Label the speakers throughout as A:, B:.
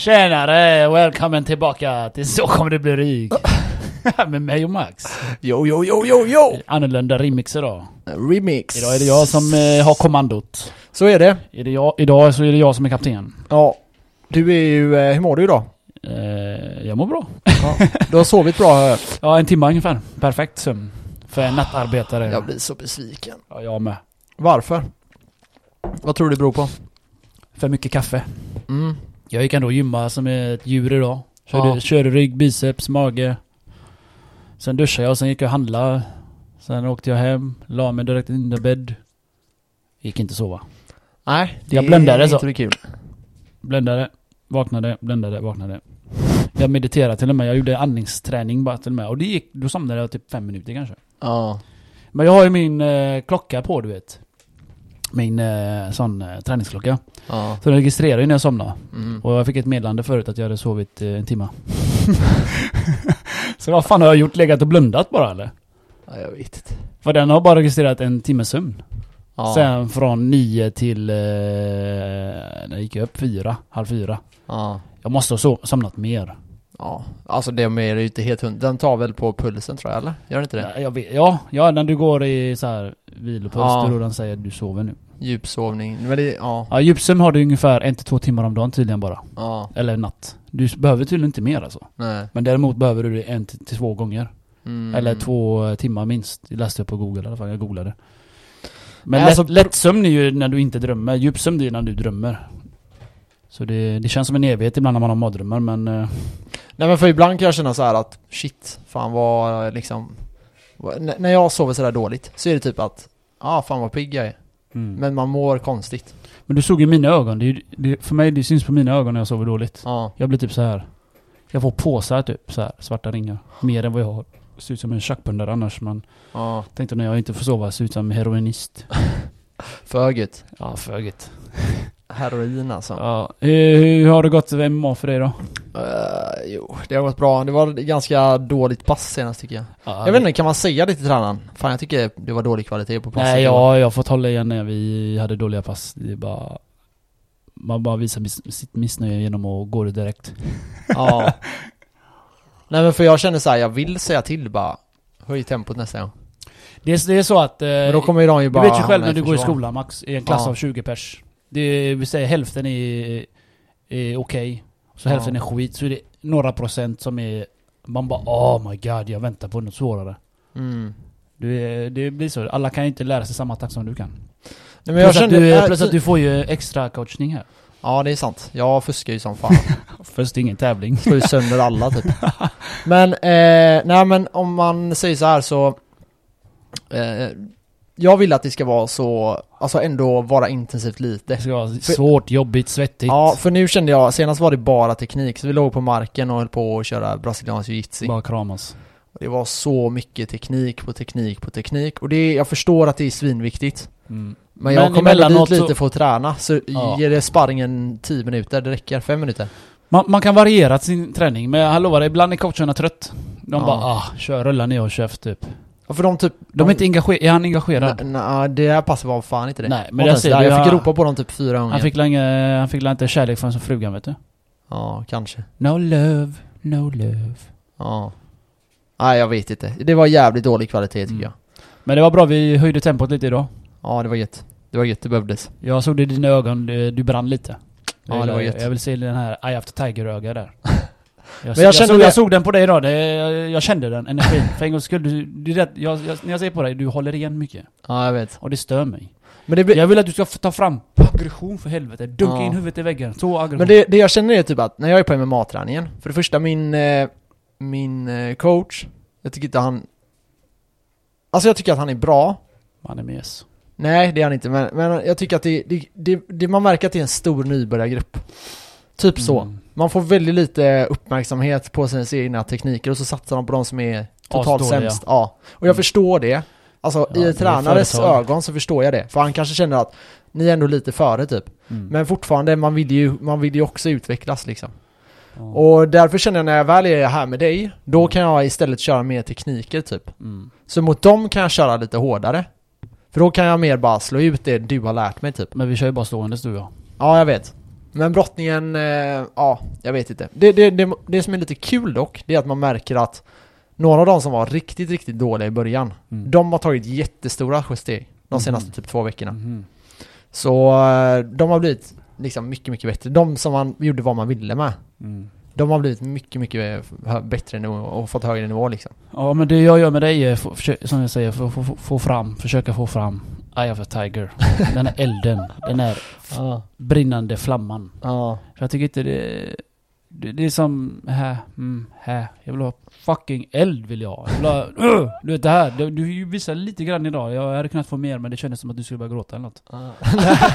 A: Tjenare! Välkommen tillbaka till Så kommer du bli rik. Med mig och Max.
B: Yo, yo, yo, yo, yo!
A: Annorlunda remix idag.
B: Remix.
A: Idag är det jag som eh, har kommandot.
B: Så är det.
A: Är det jag, idag så är det jag som är kapten.
B: Ja. Du är ju... eh, Hur mår du idag?
A: Eh, jag mår bra.
B: Du har sovit bra hör jag.
A: Ja, en timme ungefär. Perfekt sömn. För en nattarbetare.
B: Jag blir så besviken.
A: Ja, jag med.
B: Varför? Vad tror du det beror på?
A: För mycket kaffe.
B: Mm.
A: Jag gick ändå och gymma som ett djur idag. Körde,
B: Ja.
A: körde rygg, biceps, mage. Sen duschade jag, sen gick jag och handlade. Sen åkte jag hem, la mig direkt in i bädd. Gick inte sova.
B: Nej, det
A: Jag blundade
B: är
A: så.
B: inte det kul.
A: Bländade, vaknade, bländade, vaknade. Jag mediterade till och med, jag gjorde andningsträning bara till och med. Och det gick, då somnade jag typ fem minuter kanske.
B: Ja.
A: Men jag har ju min eh, klocka på du vet. Min eh, sån eh, träningsklocka.
B: Ja.
A: Så den registrerar ju när jag somnar.
B: Mm.
A: Och jag fick ett meddelande förut att jag hade sovit eh, en timma. så vad fan har jag gjort? Legat och blundat bara eller?
B: ja jag vet inte.
A: För den har bara registrerat en timmes sömn.
B: Ja.
A: Sen från nio till... Eh, när gick jag upp? Fyra, halv fyra.
B: Ja.
A: Jag måste ha so- somnat mer.
B: Ja. Alltså det är ju inte helt hund. Den tar väl på pulsen tror jag, eller? Gör den inte det?
A: Ja, jag vet, ja, ja, när du går i så här vilopuls,
B: Ja.
A: då den säger att du sover nu.
B: Djupsovning. Men det, ja.
A: Ja, djupsömn har du ungefär en till två timmar om dagen tydligen bara.
B: Ja.
A: Eller natt. Du s- behöver tydligen inte mer alltså.
B: Nej.
A: Men däremot behöver du det en till till två gånger.
B: Mm.
A: Eller två eh, timmar minst. Det läste jag på google i alla fall, jag googlade. Men
B: Nej,
A: lätt,
B: alltså-
A: lättsömn är ju när du inte drömmer, djupsömn det är när du drömmer. Så det, det känns som en evighet ibland när man har mardrömmar men... eh,
B: Nej men för ibland kan jag känna så här att shit, fan vad liksom vad- n- När jag sover sådär dåligt så är det typ att Ja ah, fan vad pigg jag är
A: Men,
B: Men man mår konstigt
A: men du såg ju mina ögon, det, är ju- det, för mig det syns på mina ögon när jag sover dåligt.
B: Ja
A: Jag blir typ så här. Jag får påsar typ, så här, svarta ringar. Mer än vad jag har. Ser ut som en tjackpundare annars men
B: Ja
A: tänkte när jag inte får sova, ser ut som heroinist.
B: För gött
A: Ja, föget.
B: Heroin alltså
A: Ja. Hur, hur har det gått med MMA för dig då?
B: Eh, Jo det har gått bra Det var ganska dåligt pass senast tycker jag Jag vet inte kan man säga det till tränaren? Fan jag tycker det var dålig kvalitet på passet
A: Nej,
B: igår.
A: ja, jag har fått hålla igen när vi hade dåliga pass. Det är bara... Man bara visar miss, sitt missnöje genom att gå det direkt.
B: ja Nej men för jag känner så här, jag vill säga till bara Höj tempot nästa gång
A: Det är, det är så att... Eh,
B: Men då kommer ju de ju
A: du
B: bara
A: vet ju själv
B: hamna
A: när du går i
B: försvar.
A: skolan Max, i en klass
B: Ja.
A: av 20 pers. Det vill säga hälften är, är okej, så
B: Ja.
A: hälften är skit. Så är det några procent som är... Man bara oh my god, jag väntar på något svårare.
B: mm.
A: Du är, det blir så. Alla kan ju inte lära sig samma takt som du kan.
B: Nej, men
A: Plus,
B: jag
A: att,
B: kände,
A: du,
B: äh,
A: plus att du får ju extra coachning här.
B: Ja det är sant, jag fuskar ju som fan
A: Först ingen tävling.
B: Slår ju sönder alla typ Men, eh, nej men om man säger så här så eh, Jag vill att det ska vara så, alltså ändå vara intensivt lite
A: Det ska vara svårt, jobbigt, svettigt.
B: Ja, för nu kände jag, senast var det bara teknik, så vi låg på marken och höll på att köra brasiliansk jiu-jitsu
A: Bara kramas.
B: Det var så mycket teknik på teknik på teknik Och det, jag förstår att det är svinviktigt
A: Mm.
B: Men jag
A: Men
B: kommer ändå
A: emellanåt
B: dit lite
A: så-
B: för att träna, så
A: Ja.
B: ger det sparringen 10 minuter, det räcker, 5 minuter
A: Man, man kan variera sin träning, men jag lovar, ibland är coacherna trött. De
B: Ja.
A: bara ah, kör, rulla ner och köft typ.
B: Ja, för de typ
A: De är inte engagerade. Är han engagerad?
B: Nej, nej, det här passet var fan inte det.
A: Nej, men
B: Var inte
A: jag
B: ens
A: säger
B: där.
A: det,
B: jag fick
A: jag-
B: ropa på dem typ fyra gånger.
A: han fick länge, han fick länge inte kärlek från sin frugan vet du.
B: Ja, kanske.
A: No love, no love.
B: Ja. Nej, jag vet inte. Det var jävligt dålig kvalitet tycker
A: Mm.
B: jag.
A: Men det var bra, vi höjde tempot lite idag.
B: Ja, det var gött. Det var gött, det behövdes.
A: Jag såg det i dina ögon, du, du brann lite.
B: Ja,
A: Jag
B: det var
A: gillar-
B: gött.
A: Jag vill se den här I after tiger-öga där. Jag,
B: jag
A: jag,
B: kände
A: såg,
B: det-
A: jag såg den på dig idag, det, jag, jag kände den energin. För en gångs skull, du, du, det, jag, jag, när jag ser på dig, du håller igen mycket.
B: Ja, jag vet.
A: Och det stör mig.
B: Men det, blir-
A: Jag vill att du ska få ta fram aggression för helvete. Dunka
B: Ja.
A: in huvudet i väggen. Så aggression.
B: men det, det jag känner är typ att när jag är på MMA-träningen, för det första min, eh, min eh, coach, jag tycker inte han... Alltså jag tycker att han är bra.
A: Man är mes.
B: Nej, det är han inte, men, men jag tycker att det, det, det, det, man märker att det är en stor nybörjargrupp. Typ så.
A: Mm.
B: Man får väldigt lite uppmärksamhet på sina egna tekniker och så satsar de på de som är totalt
A: Asdåliga.
B: sämst. Ja. Och jag
A: Mm.
B: förstår det. Alltså
A: Ja,
B: i
A: det är
B: en tränares
A: företag.
B: ögon så förstår jag det. För han kanske känner att ni är ändå lite före typ.
A: Mm.
B: Men fortfarande, man vill ju, man vill ju också utvecklas liksom.
A: Ja.
B: Och därför känner jag när jag väl är här med dig, då kan jag istället köra mer tekniker typ.
A: Mm.
B: Så mot dem kan jag köra lite hårdare. För då kan jag mer bara slå ut det du har lärt mig typ.
A: Men vi kör ju bara stående du och jag.
B: Ja, jag vet. Men brottningen, eh, ja, jag vet inte. Det, det, det, det som är lite kul dock, det är att man märker att några av de som var riktigt, riktigt dåliga i början,
A: Mm.
B: de har tagit jättestora steg de senaste
A: Mhm.
B: typ två veckorna.
A: Mhm.
B: Så eh, de har blivit liksom mycket, mycket bättre. De som man gjorde vad man ville med,
A: Mm.
B: de har blivit mycket, mycket hö- bättre nu och fått högre nivå liksom.
A: Ja men det jag gör med dig är, få- försö- som jag säger, få, få, få- få fram, försöka få fram Eye of a Tiger. Den här elden, den här
B: Ja.
A: brinnande flamman.
B: Ja.
A: För jag tycker inte det... Det, det är som här, mm, här. Jag vill ha fucking eld vill jag ha. Jag vill ha Ugh! du vet det här, du, du visar lite grann idag. Jag hade kunnat få mer men det kändes som att du skulle börja gråta eller något.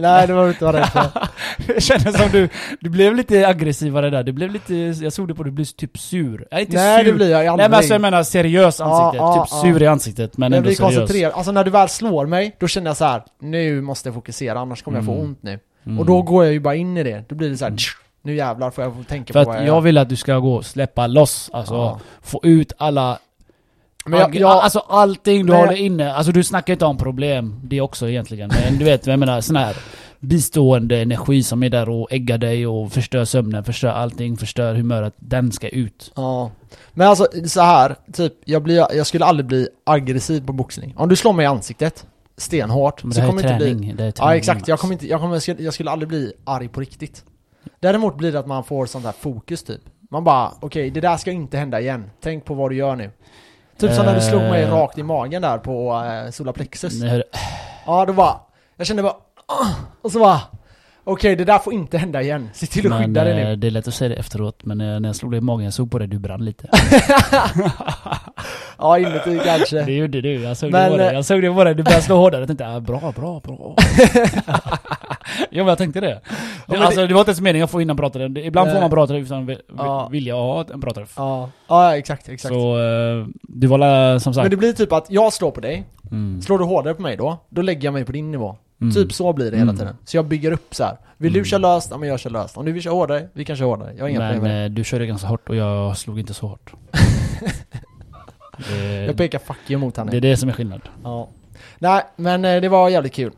B: Nej, det var du inte vara rädd för.
A: Det kändes som du, du blev lite aggressivare där. Du blev lite, jag såg det på dig, du blev typ sur. Nej inte
B: Nej,
A: sur.
B: det blir jag aldrig.
A: Nej men alltså jag menar seriös ansikte.
B: Ja, ja,
A: typ
B: ja.
A: sur i ansiktet men
B: jag
A: ändå
B: blir
A: seriös.
B: koncentrerad. Alltså när du väl slår mig, då känner jag så här: nu måste jag fokusera annars kommer jag få
A: Mm.
B: ont nu.
A: Mm.
B: Och då går jag ju bara in i det. Då blir det så här,
A: Mm.
B: "Tsch, nu jävlar får jag få tänka
A: För
B: på
A: att jag
B: gör."
A: vill att du ska gå och släppa loss, alltså
B: Ja.
A: få ut alla
B: Men jag,
A: Agge-
B: jag,
A: alltså allting du
B: Men jag-
A: håller inne, alltså du snackar inte om problem, det också egentligen. Men du vet, jag menar sån här bistående energi som är där och äggar dig och förstör sömnen, förstör allting, förstör humöret. Den ska ut.
B: ja. Men alltså så här, typ, jag, blir, jag skulle aldrig bli aggressiv på boxning. Om du slår mig i ansiktet, stenhårt,
A: Men
B: så
A: det här är
B: kommer inte bli...
A: träning. Det här är träning.
B: Ja exakt, jag,
A: Mats.
B: kommer inte, jag, kommer, jag skulle- jag skulle aldrig bli arg på riktigt. Däremot blir det att man får sånt här fokus typ. Man bara, okej det där ska inte hända igen. Tänk på vad du gör nu. Typ som när du slog mig
A: Eh.
B: rakt i magen där på eh, solaplexus.
A: Nej, hörru.
B: Ja, då bara, jag kände bara, "Åh!" och så bara, okej det där får inte hända igen. Se till att
A: Men,
B: skydda dig nu.
A: eh, det är lätt att säga det efteråt, men eh, när jag slog dig i magen, jag såg på dig, du brann lite.
B: Ja, inuti kanske.
A: det gjorde du, jag såg det
B: Men,
A: på dig.
B: eh,
A: Jag såg det på dig, du började slå hårdare. Jag tänkte, ah, bra, bra, bra. ja men jag tänkte det.
B: men det-
A: alltså det var inte ens meningen att få in en pratare. Det- Ibland får
B: Nej.
A: man pratare utan vi- vi-
B: Ja.
A: vilja att ha en pratare.
B: Ja, ja exakt, exakt.
A: Så eh, du var la- som sagt...
B: Men det blir typ att jag slår på dig,
A: Mm.
B: slår du hårdare på mig då, då lägger jag mig på din nivå.
A: Mm.
B: Typ så blir det hela
A: Mm.
B: tiden. Så jag bygger upp så här. Vill
A: Mm.
B: du köra löst? Ja men jag kör löst. Om du vill köra hårdare, vi kan köra hårdare. Jag har inga problem
A: Men
B: med det.
A: eh, du körde ganska hårt och jag slog inte så hårt. det,
B: Jag
A: det
B: pekar 'fuck you' mot han
A: är
B: nu.
A: eh, det som är skillnad.
B: Ja. Nej, men eh, det var jävligt kul.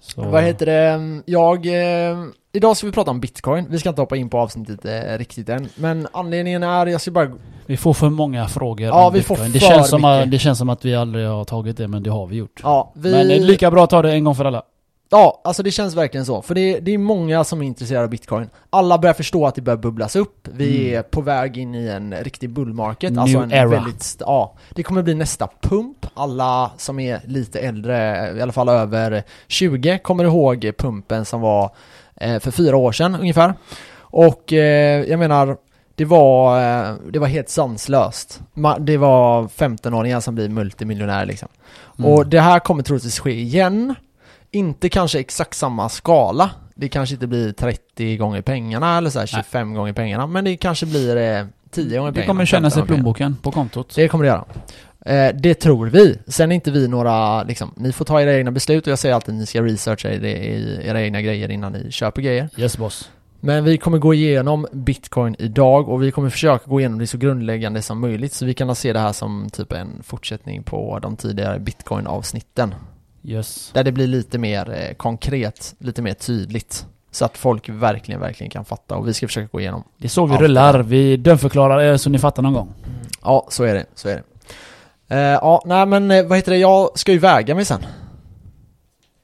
A: Så,
B: Vad heter det? Jag... Eh, idag ska vi prata om bitcoin. Vi ska inte hoppa in på avsnittet eh, riktigt än. Men anledningen är, jag ska bara...
A: Vi får för många frågor
B: Ja,
A: om
B: vi får
A: Bitcoin. det,
B: för
A: känns som
B: mycket.
A: att, det känns som att vi aldrig har tagit det, men det har vi gjort.
B: Ja, vi...
A: Men det är lika bra att ta det en gång för alla.
B: Ja, alltså det känns verkligen så. För det, det är många som är intresserade av bitcoin. Alla börjar förstå att det börjar bubblas upp. Vi
A: Mm.
B: är på väg in i en riktig bull market.
A: New
B: alltså en
A: era.
B: väldigt... st- Ja, det kommer bli nästa pump. Alla som är lite äldre, i alla fall över 20, kommer ihåg pumpen som var eh, för fyra år sedan ungefär. Och eh, jag menar, det var, eh, det var helt sanslöst. Ma- det var 15-åringar som blir multimiljonärer liksom.
A: Mm.
B: Och det här kommer troligtvis ske igen. Inte kanske exakt samma skala. Det kanske inte blir 30 gånger pengarna eller så här 25 gånger pengarna. Men det kanske blir eh, 10 gånger
A: det
B: pengarna.
A: kommer kännas i
B: 15 gånger pengarna.
A: plånboken på kontot.
B: Det kommer det göra. Eh, det tror vi. Sen är inte vi några, liksom, ni får ta era egna beslut och jag säger alltid att ni ska researcha i det- i era egna grejer innan ni köper grejer.
A: Yes boss.
B: Men vi kommer gå igenom bitcoin idag och vi kommer försöka gå igenom det så grundläggande som möjligt så vi kan se det här som typ en fortsättning på de tidigare bitcoin-avsnitten.
A: Yes.
B: Där det blir lite mer eh, konkret, lite mer tydligt. Så att folk verkligen, verkligen kan fatta och vi ska försöka gå igenom.
A: Det är så vi
B: Ja.
A: rullar. Vi dömförklarar er så ni fattar någon gång.
B: Ja, så är det, så är det. Eh, ja, nej men eh, vad heter det, jag ska ju väga mig sen.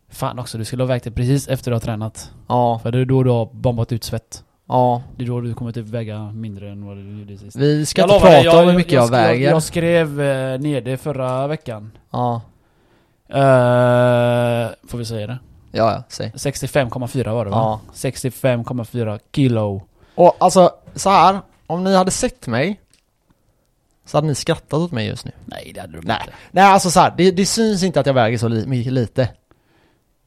A: Fan också, du skulle ha vägt det precis efter du har tränat.
B: Ja,
A: För det är då du har bombat ut svett.
B: ja.
A: Det är då du kommer typ väga mindre än vad du gjorde sist.
B: Vi ska
A: Jag
B: inte
A: lovar
B: prata
A: dig,
B: om hur mycket jag,
A: skrev-
B: väger.
A: Jag skrev eh, ner det förra veckan.
B: Ja,
A: Eh, får vi säga det?
B: ja, ja, säg.
A: 65,4 var det va?
B: Ja.
A: 65,4 kilo.
B: Och alltså, så här. Om ni hade sett mig så hade ni skrattat åt mig just nu.
A: Nej det hade du
B: Nej.
A: inte.
B: Nej, alltså så här. Det, det syns inte att jag väger så li- mycket lite.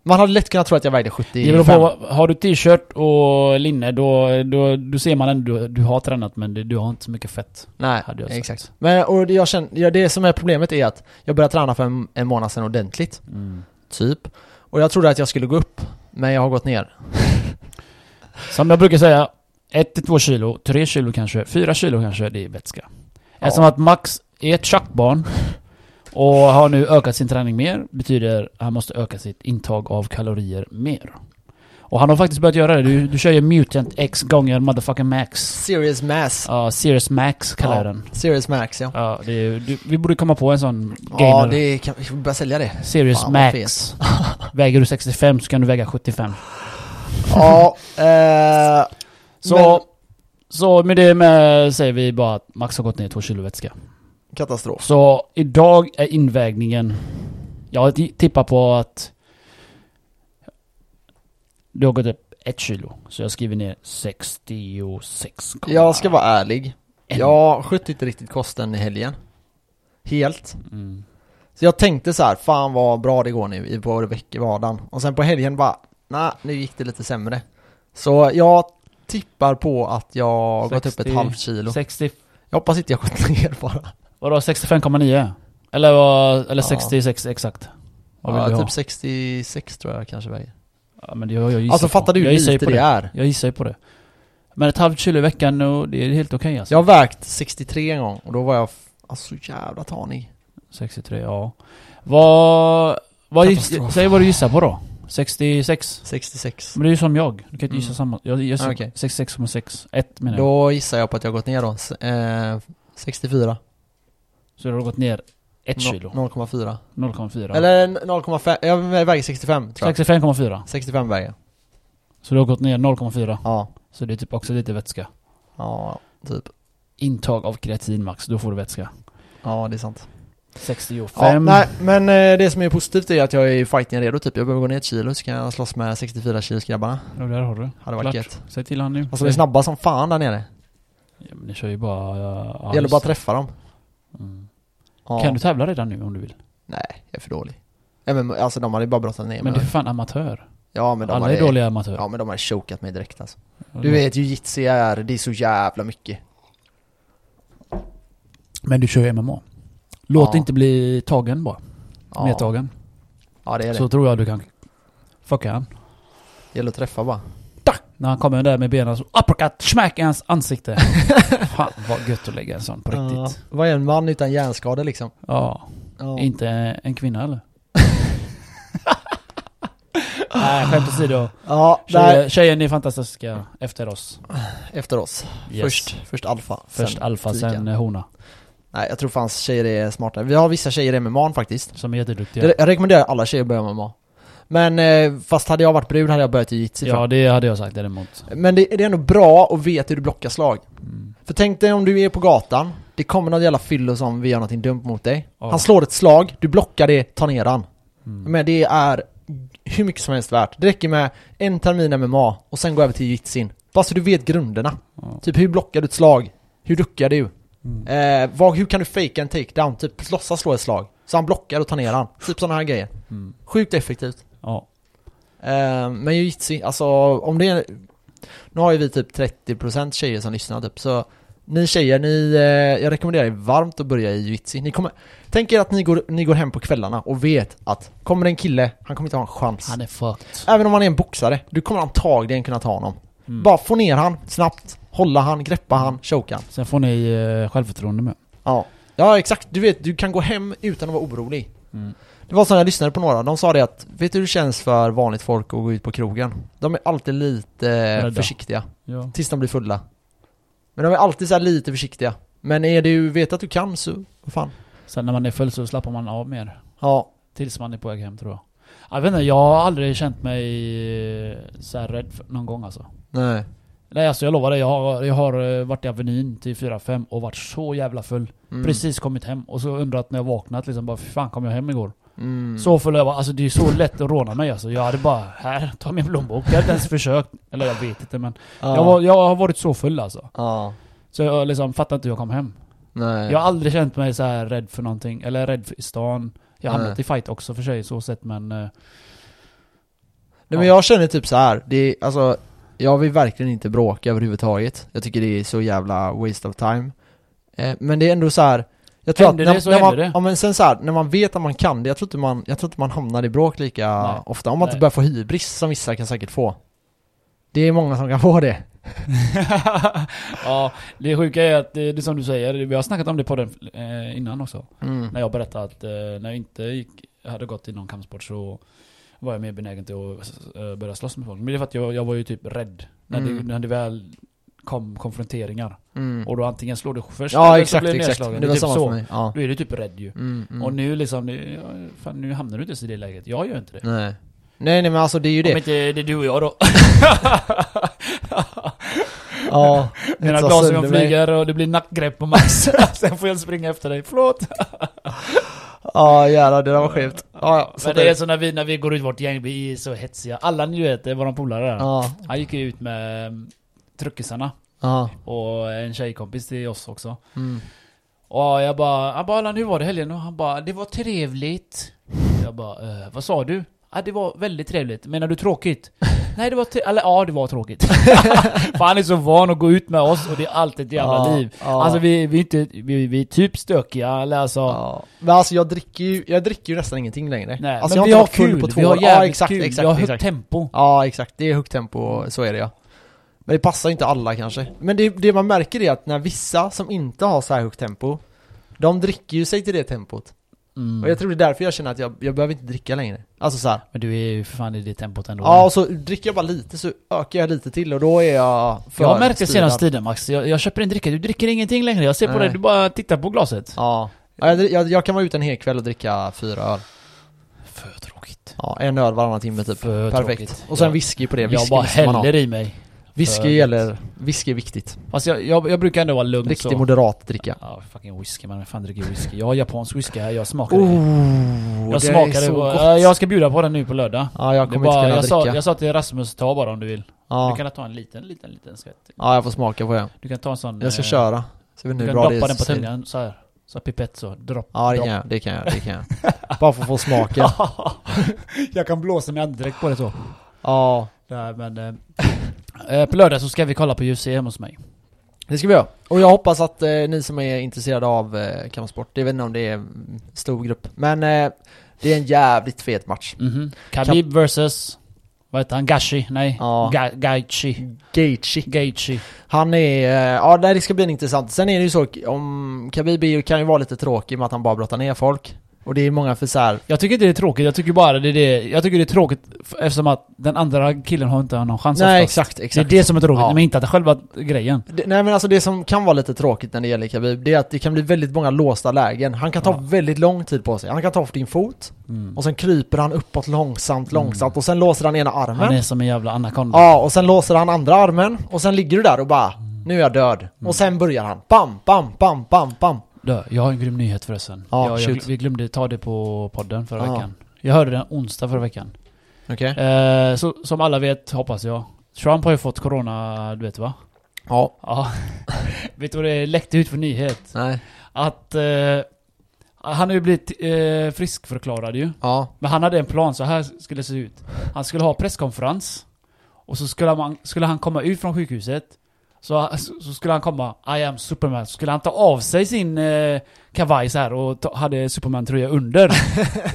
B: Man hade lätt kunnat tro att jag vägde
A: Det
B: 75.
A: beror på, har du t-shirt och linne då, då, då ser man ändå du, du har tränat men du, du har inte så mycket fett.
B: Nej,
A: Hade jag sagt.
B: exakt. Men och det, jag känner, ja, det som är problemet är att jag började träna för en, en månad sedan ordentligt,
A: Mm.
B: typ. Och jag trodde att jag skulle gå upp, men jag har gått ner.
A: Som jag brukar säga, 1-2 kilo, 3 kilo kanske, 4 kilo kanske, det är vätska. Eftersom att Max är ett tjackbarn och har nu ökat sin träning mer, betyder att han måste öka sitt intag av kalorier mer. Och han har faktiskt börjat göra det. Du, du kör ju Mutant X gånger motherfucking Max.
B: Serious Mass.
A: Ja, Serious Max kallar
B: Ja.
A: jag den.
B: Serious Max ja.
A: Ja, det, är- du, vi borde komma på en sån gamer.
B: Ja, det kan, vi får börja sälja det.
A: Serious
B: Fan, vad
A: Max. Väger du 65 så kan du väga 75.
B: ja, eh,
A: Så,
B: Men-
A: så med det med säger vi bara att Max har gått ner två kilo vätska.
B: katastrof.
A: Så idag är invägningen... Jag t- tippar på att... Du har gått upp ett kilo. Så jag skriver ner 66.
B: Jag ska vara ärlig. Jag skötte inte riktigt kosten i helgen. Helt.
A: Mm.
B: Så jag tänkte så här, fan vad bra det går nu i på veckovardagen. Och sen på helgen bara, nej nu gick det lite sämre. Så jag tippar på att jag har gått upp
A: 60
B: ett halvt kilo.
A: 60...
B: Jag hoppas inte jag har gått ner bara.
A: Vadå 65,9? Eller, vad- eller
B: Ja.
A: 66 exakt? Vad vill
B: Ja,
A: du ha?
B: typ 66 tror jag kanske väger.
A: Ja, men det- jag, jag gissar
B: Alltså
A: på-
B: fattar du
A: jag
B: hur
A: gissar ju
B: lite
A: på
B: det. är?
A: Jag gissar ju på det. Men ett halvt kilo i veckan, och det är helt okej alltså.
B: Jag har vägt 63 en gång och då var jag, f- alltså jävla tanig.
A: 63, ja. Vad... vad giss,
B: Katastrof.
A: säg vad du gissar på då. 66?
B: 66.
A: Men det är ju som jag. Du kan inte gissa
B: Mm.
A: samma. Jag gissar
B: Ah, okej.
A: 66,6. 1 menar jag.
B: Då gissar jag på att jag har gått ner då, S- eh, 64.
A: Så du har gått ner 1
B: No-
A: kilo.
B: 0,4.
A: 0,4.
B: Eller 0,5, jag väger 65 tror jag.
A: 65,4.
B: 65 väger jag.
A: Så du har gått ner 0,4.
B: Ja,
A: Så det är typ också lite vätska.
B: ja, typ.
A: Intag av kreatin max, då får du vätska.
B: Ja, det är sant.
A: 65.
B: Ja, nej, men eh, det som är positivt är att jag är i fighting redo typ. Jag behöver gå ner ett kilo så kan jag slåss med 64 kilos grabbarna.
A: Ja, där har du.
B: Hade varit
A: Klart.
B: gött.
A: Säg till han nu.
B: Alltså de är snabba som fan där nere.
A: Ja, men ni kör ju bara... Ja, ja,
B: Det gäller bara att
A: just-
B: träffa dem.
A: mm.
B: Ja.
A: Kan du tävla redan nu om du vill?
B: Nej, jag är för dålig. Ja, men, alltså de hade ju bara brottat ner
A: Men
B: mig.
A: du är för fan amatör.
B: Ja men de
A: Alla
B: hade,
A: är dåliga amatörer.
B: Ja men de hade chokat mig direkt alltså. Du vet ju jitsi är, det är så jävla mycket.
A: Men du kör ju MMA. Låt
B: Ja.
A: det inte bli tagen bara.
B: Ja,
A: Medtagen.
B: ja det är det.
A: Så tror jag du kan fucka han.
B: Det gäller att träffa bara.
A: När han kommer där med benen så uppercut, smack i hans ansikte. Fan vad gött att lägga en sån på
B: Ja,
A: riktigt.
B: vad är en man utan hjärnskada liksom?
A: Ja,
B: Ja.
A: inte en kvinna eller? Nej, skämt åsido.
B: Ja, där
A: Tjejer, tjejer, ni är fantastiska efter oss.
B: efter oss.
A: Yes.
B: Först, först alfa.
A: Först
B: sen
A: alfa,
B: tiken.
A: sen hona.
B: Nej, jag tror fan tjejer är smartare. Vi har vissa tjejer i MMA faktiskt.
A: Som är jätteduktiga.
B: Jag, jag rekommenderar alla tjejer att börja med MMA. Men eh, fast hade jag varit brud hade jag börjat i jitsi.
A: ja,
B: fan.
A: det hade jag sagt däremot.
B: Men det, det är ändå bra att veta hur du blockar slag.
A: Mm.
B: För tänk dig om du är på gatan, det kommer någon jävla fyllo som vill göra någonting dumt mot dig.
A: Ja.
B: Han slår ett slag, du blockar det, tar ner han.
A: Mm.
B: Men det är hur mycket som helst värt. Det räcker med en termin MMA och sen gå över till jitsin. Bara så du vet grunderna.
A: Ja.
B: Typ hur blockar du ett slag? Hur duckar du?
A: Mm.
B: Eh, vad, hur kan du fejka en takedown? Typ låtsas slå ett slag. Så han blockar och tar ner han. Typ sådana här grejer.
A: Mm.
B: Sjukt effektivt.
A: Ja.
B: Eh, men jujitsu, alltså om det är... Nu har ju vi typ 30% tjejer som lyssnar typ, så ni tjejer, ni, eh, jag rekommenderar er varmt att börja i jujitsu. Ni kommer, tänk er att ni går, ni går hem på kvällarna och vet att kommer det en kille, han kommer inte ha en chans.
A: Han är fucked.
B: Även om han är en boxare, du kommer antagligen kunna ta honom.
A: Mm.
B: Bara få ner han snabbt, hålla han, greppa han, choka han.
A: Sen får ni eh, självförtroende med.
B: Ja. ja, exakt. Du vet, du kan gå hem utan att vara orolig.
A: Mm.
B: Det var så när jag lyssnade på några, de sa det att Vet du hur det känns för vanligt folk att gå ut på krogen? De är alltid lite eh,
A: Rädda.
B: försiktiga,
A: Ja.
B: tills de blir fulla Men de är alltid så här lite försiktiga Men är du, vet att du kan så, vad fan
A: Sen när man är full så slappar man av mer.
B: Ja,
A: Tills man är på väg hem tror jag. Jag vet inte, jag har aldrig känt mig eh, så här rädd för, någon gång alltså.
B: nej
A: Nej alltså jag lovar dig, jag har, jag har eh, varit i Avenyn till 4-5 och varit så jävla full.
B: Mm.
A: Precis kommit hem och så undrat när jag vaknat liksom bara "Fy fan kom jag hem igår?
B: mm.
A: Så full jag var, alltså det är så lätt att råna mig alltså. Jag hade bara, här, ta min plånbok. Jag hade inte ens försökt. Eller jag vet inte men.
B: ja.
A: Jag, var, jag har varit så full alltså.
B: ja,
A: Så jag liksom fattar inte hur jag kom hem.
B: nej
A: Jag har aldrig känt mig så här rädd för någonting, eller rädd för i stan. Jag har
B: Nej.
A: hamnat i fight också för sig så sett men... eh,
B: Nej men jag känner typ så här. det är, alltså Jag vill verkligen inte bråka överhuvudtaget Jag tycker det är så jävla waste of time eh, Men det är ändå så här. Jag tror
A: Händer
B: att när,
A: det så
B: när man,
A: händer det.
B: Ja, men sen så här, när man vet att man kan det, jag tror inte man, jag tror inte man hamnar i bråk lika
A: Nej.
B: ofta Om man inte
A: Nej.
B: börjar få hybris som vissa kan säkert få Det är många som kan få det
A: ja, det sjuka är att eh, det är som du säger, vi har snackat om det på den eh, innan också.
B: mm.
A: När jag berättade att eh, när jag inte gick, hade gått i någon kampsport så var jag mer benägen till att eh, börja slåss med folk. Men det är för att jag, jag var ju typ rädd. När, det,
B: Mm.
A: när det väl kom konfronteringar.
B: Mm.
A: Och då antingen slår du först
B: Ja
A: eller så
B: exakt,
A: blir du
B: exakt.
A: nedslagen.
B: Det var
A: är typ
B: samma
A: så.
B: för mig. Ja.
A: Då är du typ rädd ju.
B: Mm, mm.
A: Och nu liksom, det- ja, fan, nu hamnar du inte ens i det läget. Jag gör inte det.
B: Nej. nej, nej men alltså det är ju
A: Om
B: det.
A: inte det är du och jag då.
B: Ja,
A: Mina
B: inte så
A: glasögon
B: sönder mig.
A: flyger och det blir nackgrepp på Max. Sen får jag springa efter dig. Förlåt!
B: Ja jävlar, det där var skevt. Ja, ja, så
A: Men det är
B: det.
A: så när vi, när vi går ut vårt gäng, vi är så hetsiga. Alla ni vet, det är våran polare där.
B: Ja,
A: Han gick ju ut med mm, truckisarna
B: ja.
A: och en tjejkompis till oss också.
B: Mm.
A: Och jag bara, han bara "Allan, hur var det helgen? Och han bara, det var trevligt. Jag bara, "Eh, vad sa du? Ja, det var väldigt trevligt. Menar du tråkigt? Nej, det var tre- eller ja, det var tråkigt. För han är så van att gå ut med oss och det är alltid ett jävla
B: ja,
A: liv.
B: Ja.
A: Alltså vi, vi, är inte, vi, vi är typ stökiga, eller alltså...
B: Ja. Men alltså jag dricker ju, jag dricker ju nästan ingenting längre.
A: Nej,
B: alltså,
A: men
B: jag
A: vi
B: har
A: har
B: inte varit full
A: kul,
B: på två
A: vi har
B: år.
A: jävligt
B: ja, exakt,
A: kul,
B: Exakt,
A: vi har högt
B: exakt.
A: tempo.
B: Ja exakt, det är högt tempo och så är det ja. Men det passar ju inte alla kanske. Men det, det man märker är att när vissa som inte har så här högt tempo, de dricker ju sig till det tempot.
A: Mm.
B: Och jag tror det är därför jag känner att jag, jag behöver inte dricka längre. Alltså så här.
A: Men du är ju för fan i det tempot ändå.
B: Ja, och så dricker jag bara lite så ökar jag lite till och då är jag för
A: jag har märkt det
B: styrad.
A: senaste tiden Max, jag, jag köper en dricka, du dricker ingenting längre. Jag ser på
B: Nej.
A: dig, du bara tittar på glaset.
B: Ja. Ja, Jag, jag, jag kan vara ute en hel kväll och dricka fyra öl.
A: För tråkigt.
B: Ja, en öl varannan timme typ.
A: För
B: Perfekt.
A: tråkigt.
B: Och sen
A: Jag-
B: whisky på det. Whisky
A: Jag bara
B: måste man ha.
A: häller i mig.
B: Whisky gäller, whisky är viktigt.
A: Fast jag, jag, jag brukar ändå vara lugn
B: Riktig
A: så.
B: moderat dricka.
A: Ja, fucking whisky man, vem fan dricker whisky? Jag har japansk whisky här, jag smakar det.
B: Oh,
A: Jag
B: det
A: smakar
B: är
A: det.
B: så
A: på-
B: gott.
A: Ja, Jag ska bjuda på den nu på lördag.
B: Ja, jag
A: Det
B: kommer
A: är bara-
B: inte kunna
A: jag, sa,
B: dricka.
A: jag sa till Rasmus, ta bara om du vill.
B: ja.
A: Du kan ta en liten, liten, liten skvätt.
B: ja, jag får smaka på det.
A: Du kan ta en sån...
B: Jag ska
A: eh,
B: köra. Så jag vet
A: Du
B: inte hur
A: kan
B: bra det
A: droppa
B: är.
A: den på
B: så-
A: tungan så här. Så här pipett så, dropp.
B: Ja, det
A: dropp.
B: kan jag. Det kan jag. Det kan jag. Bara för att få smaken.
A: jag kan blåsa min andedräkt på det så.
B: Ja,
A: Nej, men, eh, eh, på lördag så ska vi kolla på UFC hemma hos mig.
B: det ska vi göra. Och jag hoppas att eh, ni som är intresserade av eh, kampsport, det vet inte om det är en stor grupp. Men eh, det är en jävligt fet match.
A: Mhm. Khabib versus... Vad heter han? Gashi? Nej.
B: Ja.
A: Ga- Gaethje.
B: Gaethje.
A: Gaethje.
B: Han är, eh, ja nej, det ska bli en intressant. Sen är det ju så, om Khabib är ju- kan ju vara lite tråkig med att han bara brottar ner folk. Och det är många för så här,
A: Jag tycker inte det är tråkigt, jag tycker bara det är det. Jag tycker det är tråkigt f- eftersom att den andra killen har inte någon chans oftast.
B: nej exakt,
A: Det är
B: exakt.
A: det som är tråkigt,
B: Ja.
A: men inte att själva grejen.
B: Det, nej men alltså det som kan vara lite tråkigt när det gäller Khabib, det är att det kan bli väldigt många låsta lägen. Han kan ta
A: Ja.
B: väldigt lång tid på sig. Han kan ta för din fot, och sen kryper han uppåt långsamt, långsamt och sen låser han ena
A: Mm. Han
B: armen.
A: är som en jävla anakonda.
B: Ja, och sen låser han andra armen och sen ligger du där och bara, nu är jag död.
A: Mm.
B: Och sen börjar han, bam, bam, bam, bam, bam.
A: Du, jag har en grym nyhet förresten.
B: Ja,
A: jag, jag,
B: shoot.
A: vi glömde ta det på podden förra
B: Ja.
A: veckan. Jag hörde den onsdag förra veckan.
B: Okej.
A: Eh, så, som alla vet, hoppas jag. Trump har ju fått corona, du vet va?
B: Ja.
A: Ja. vet du vad det läckte ut för nyhet?
B: Nej.
A: Att... Eh, han har ju blivit eh, friskförklarad ju.
B: Ja.
A: Men han hade en plan, så här skulle det se ut. Han skulle ha presskonferens. Och så skulle, man, skulle han komma ut från sjukhuset. Så, så skulle han komma, I am Superman. Så skulle han ta av sig sin eh, kavaj så här och ta, hade Superman-tröja under.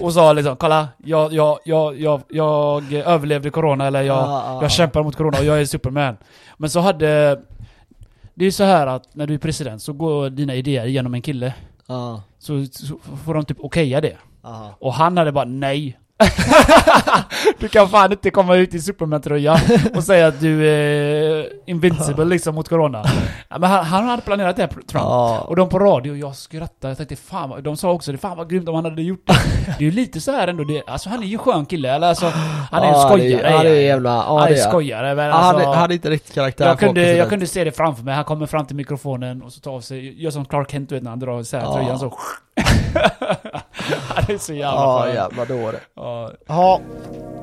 A: och sa liksom, kolla, jag, jag, jag, jag, jag överlevde corona eller jag,
B: Ja, ja,
A: jag kämpar mot corona och jag är Superman. Men så hade... Det är ju så här att när du är president så går dina idéer genom en kille.
B: Ja.
A: Så, så får de typ okeja det.
B: Aha.
A: Och han hade bara nej. du kan fan inte komma ut i Superman-tröja och säga att du är invincible liksom mot corona. Ja, Men han, han hade planerat det här, Trump.
B: Ja.
A: Och de på radio, jag skrattade, jag tänkte fan vad, de sa också det, fan vad grymt om han hade gjort det. Det är ju lite så här ändå, det, alltså han är ju skön kille, eller alltså, han är en
B: Ja, det är-
A: skojare.
B: Ja, det är jävla... Ja,
A: han är
B: det är
A: skojare, men
B: Ja, han
A: alltså,
B: är- han är inte riktigt karaktär
A: jag,
B: på
A: kunde, jag
B: president.
A: kunde se det framför mig, han kommer fram till mikrofonen och så tar av sig, gör som Clark Kent du vet när han drar isär
B: Ja.
A: tröjan så. han är så jävla
B: Ja,
A: skön.
B: jävla dåre.
A: Ja,
B: Ja.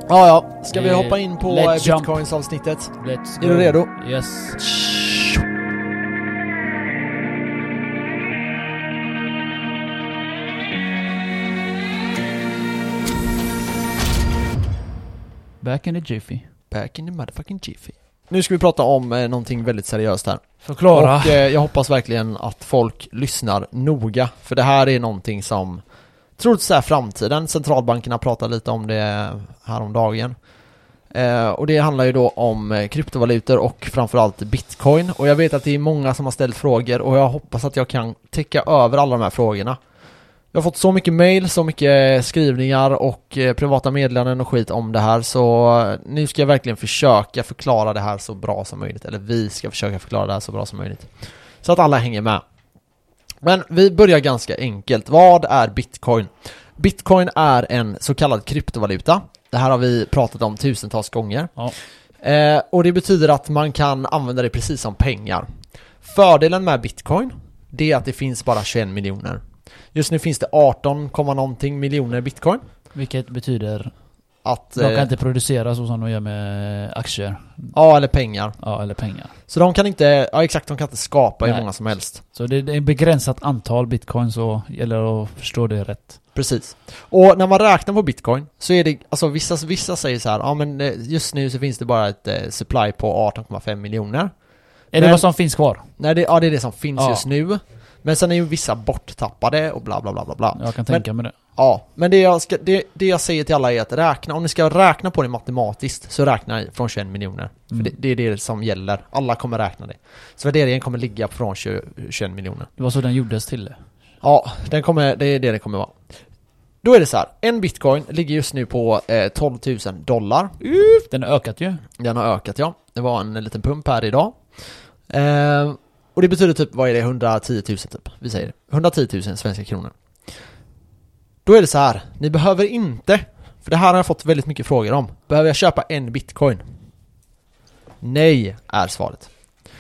B: Ja, ja. Ska vi
A: Eh,
B: hoppa in på
A: let's
B: eh,
A: jump.
B: bitcoins-avsnittet?
A: Let's go.
B: Är du redo?
A: Yes. Back in the jiffy.
B: Back in the motherfucking jiffy. Nu ska vi prata om eh, någonting väldigt seriöst här.
A: Förklara.
B: Och eh, jag hoppas verkligen att folk lyssnar noga. För det här är någonting som troligtvis är framtiden. Centralbankerna pratar lite om det häromdagen. Eh, och det handlar ju då om eh, kryptovalutor och framförallt bitcoin. Och jag vet att det är många som har ställt frågor och jag hoppas att jag kan täcka över alla de här frågorna. Jag har fått så mycket mail, så mycket eh, skrivningar och eh, privata meddelanden och skit om det här så eh, nu ska jag verkligen försöka förklara det här så bra som möjligt. Eller vi ska försöka förklara det här så bra som möjligt. Så att alla hänger med. Men vi börjar ganska enkelt. Vad är bitcoin? Bitcoin är en så kallad kryptovaluta. Det här har vi pratat om tusentals gånger.
A: Ja.
B: Eh, och det betyder att man kan använda det precis som pengar. Fördelen med bitcoin, det är att det finns bara 21 miljoner. Just nu finns det 18, komma någonting miljoner bitcoin.
A: Vilket betyder,
B: Att,
A: de kan
B: eh,
A: inte producera så som de gör med aktier.
B: ja, eller pengar.
A: Ja, eller pengar.
B: Så de kan inte, ja exakt, de kan inte skapa hur
A: Nej.
B: många som helst.
A: Så det det är ett begränsat antal bitcoin så gäller att förstå det rätt.
B: Precis. Och när man räknar på bitcoin så är det, alltså vissa, vissa säger så här, ja men eh, just nu så finns det bara ett eh, supply på 18,5 miljoner.
A: Är
B: Men-
A: det vad som finns kvar?
B: Nej, det, ja det är det som finns
A: Ja.
B: just nu. Men sen är ju vissa borttappade och bla bla bla bla bla.
A: Jag kan
B: Men-
A: tänka mig det.
B: Ja, men det jag, ska, det, det jag säger till alla är att räkna, om ni ska räkna på det matematiskt så räkna i från 21 miljoner.
A: Mm.
B: För det, det är det som gäller, alla kommer räkna det. Så värderingen kommer ligga från 20, 21 miljoner.
A: Det var så den gjordes till det.
B: Ja, den kommer, det är det det kommer vara. Då är det så här, en bitcoin ligger just nu på eh, 12 000 dollar.
A: Den har ökat ju.
B: Den har ökat ja, det var en liten pump här idag. Eh, och det betyder typ, vad är det, 110 000 typ? Vi säger 110 000 svenska kronor. Då är det så här, ni behöver inte, för det här har jag fått väldigt mycket frågor om, behöver jag köpa en bitcoin? Nej, är svaret.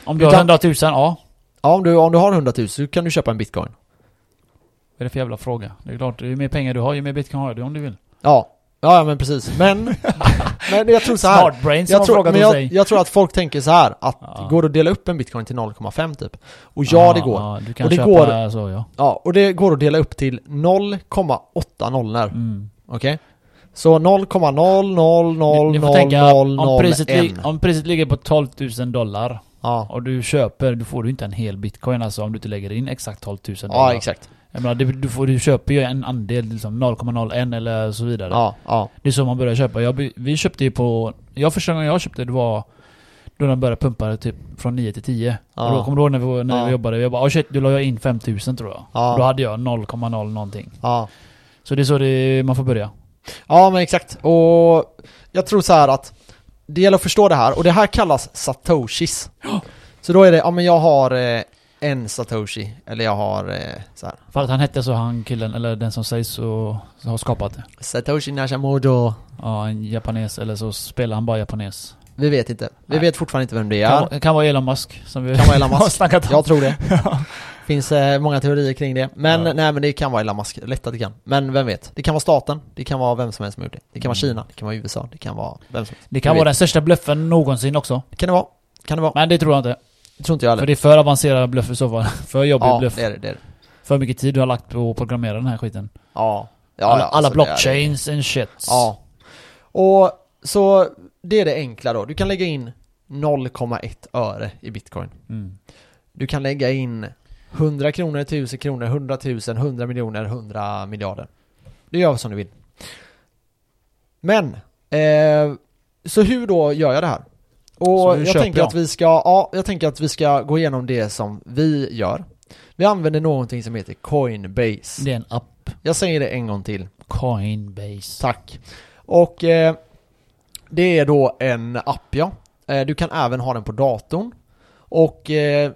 A: Om du har
B: Utan-
A: 100 000, ja.
B: Ja, om du, om du har 100 000 så kan du köpa en bitcoin.
A: Vad är det för jävla fråga? Det är klart, ju mer pengar du har, ju mer bitcoin har du om du vill.
B: Ja, ja ja, men precis. Men, men jag tror så här.
A: Smart brain som
B: jag
A: har
B: tror,
A: frågat
B: men
A: hos
B: jag,
A: dig.
B: jag tror att folk tänker så här att
A: Ja.
B: går det att dela upp en bitcoin till 0,5 typ? Och ja, det går.
A: Ja, du kan
B: Och det
A: köpa
B: går-
A: så ja.
B: Ja, och det går att dela upp till 0,8 nollor.
A: Mm.
B: Okej? Så 0,0000001.
A: ni får tänka, om priset, lig- om priset ligger på 12 000 dollar
B: Ja.
A: och du köper, då får du inte en hel bitcoin alltså om du inte lägger in exakt 12 000 dollar.
B: ja, exakt.
A: Jag menar, du, du, får, du köper ju en andel, liksom 0,01 eller så vidare.
B: Ja, ja.
A: Det är så man börjar köpa. Jag, by- vi köpte ju på... Jag första gången jag köpte det var då de började pumpa det typ från 9 till 10.
B: Ja.
A: Och då kommer du ihåg när vi, när
B: Ja.
A: vi jobbade? Jag bara oh shit, då la jag in 5000 tror jag.
B: Ja.
A: Då hade jag 0,0 någonting.
B: ja.
A: Så det är så det, man får börja.
B: Ja men exakt, och jag tror så här att det gäller att förstå det här, och det här kallas satoshis. Så då är det, ja men jag har eh, en satoshi, eller jag har eh, så här,
A: För att han hette så han killen, eller den som sägs så, så har skapat det.
B: satoshi nakamoto,
A: Ja, en japanes eller så spelar han bara japanes.
B: vi vet inte. Vi
A: Nej.
B: vet fortfarande inte vem det är.
A: Kan, vara- kan vara Elon Musk som vi
B: Kan vara Elon
A: har
B: Musk.
A: snackat om.
B: Jag tror det. Finns eh, många teorier kring det. Men
A: Ja.
B: nej men det kan vara Elon Musk, lätt att det kan. Men vem vet? Det kan vara staten, det kan vara vem som helst som har gjort det. Det kan vara
A: Mm.
B: Kina, det kan vara USA, det kan vara vem som helst.
A: Det kan
B: Jag
A: vara
B: vet.
A: den största bluffen någonsin också.
B: Kan det vara? Kan det vara?
A: Men det tror jag inte.
B: Det tror inte jag
A: För
B: heller.
A: det är för avancerad bluff i så fall. För jobbig
B: Ja,
A: bluff.
B: det är det. det, är det.
A: För mycket tid du har lagt på att programmera den här skiten.
B: Ja. ja
A: alla,
B: ja,
A: alla
B: alltså, det är det.
A: blockchains and shit.
B: Ja. Och så det är det enkla då. Du kan lägga in 0,1 öre i bitcoin.
A: Mm.
B: Du kan lägga in 100 kronor, 1000 kronor, 100 000, 100 miljoner, 100 miljarder. Du gör som du vill. Men, eh, så hur då gör jag det här?
A: Så
B: Och
A: hur
B: jag
A: köper
B: tänker,
A: jag?
B: att vi ska, ja, jag tänker att vi ska gå igenom det som vi gör. Vi använder någonting som heter Coinbase.
A: Det är en app.
B: Jag säger det en gång till.
A: Coinbase.
B: Tack. Och eh, det är då en app ja. Eh, du kan även ha den på datorn. Och eh,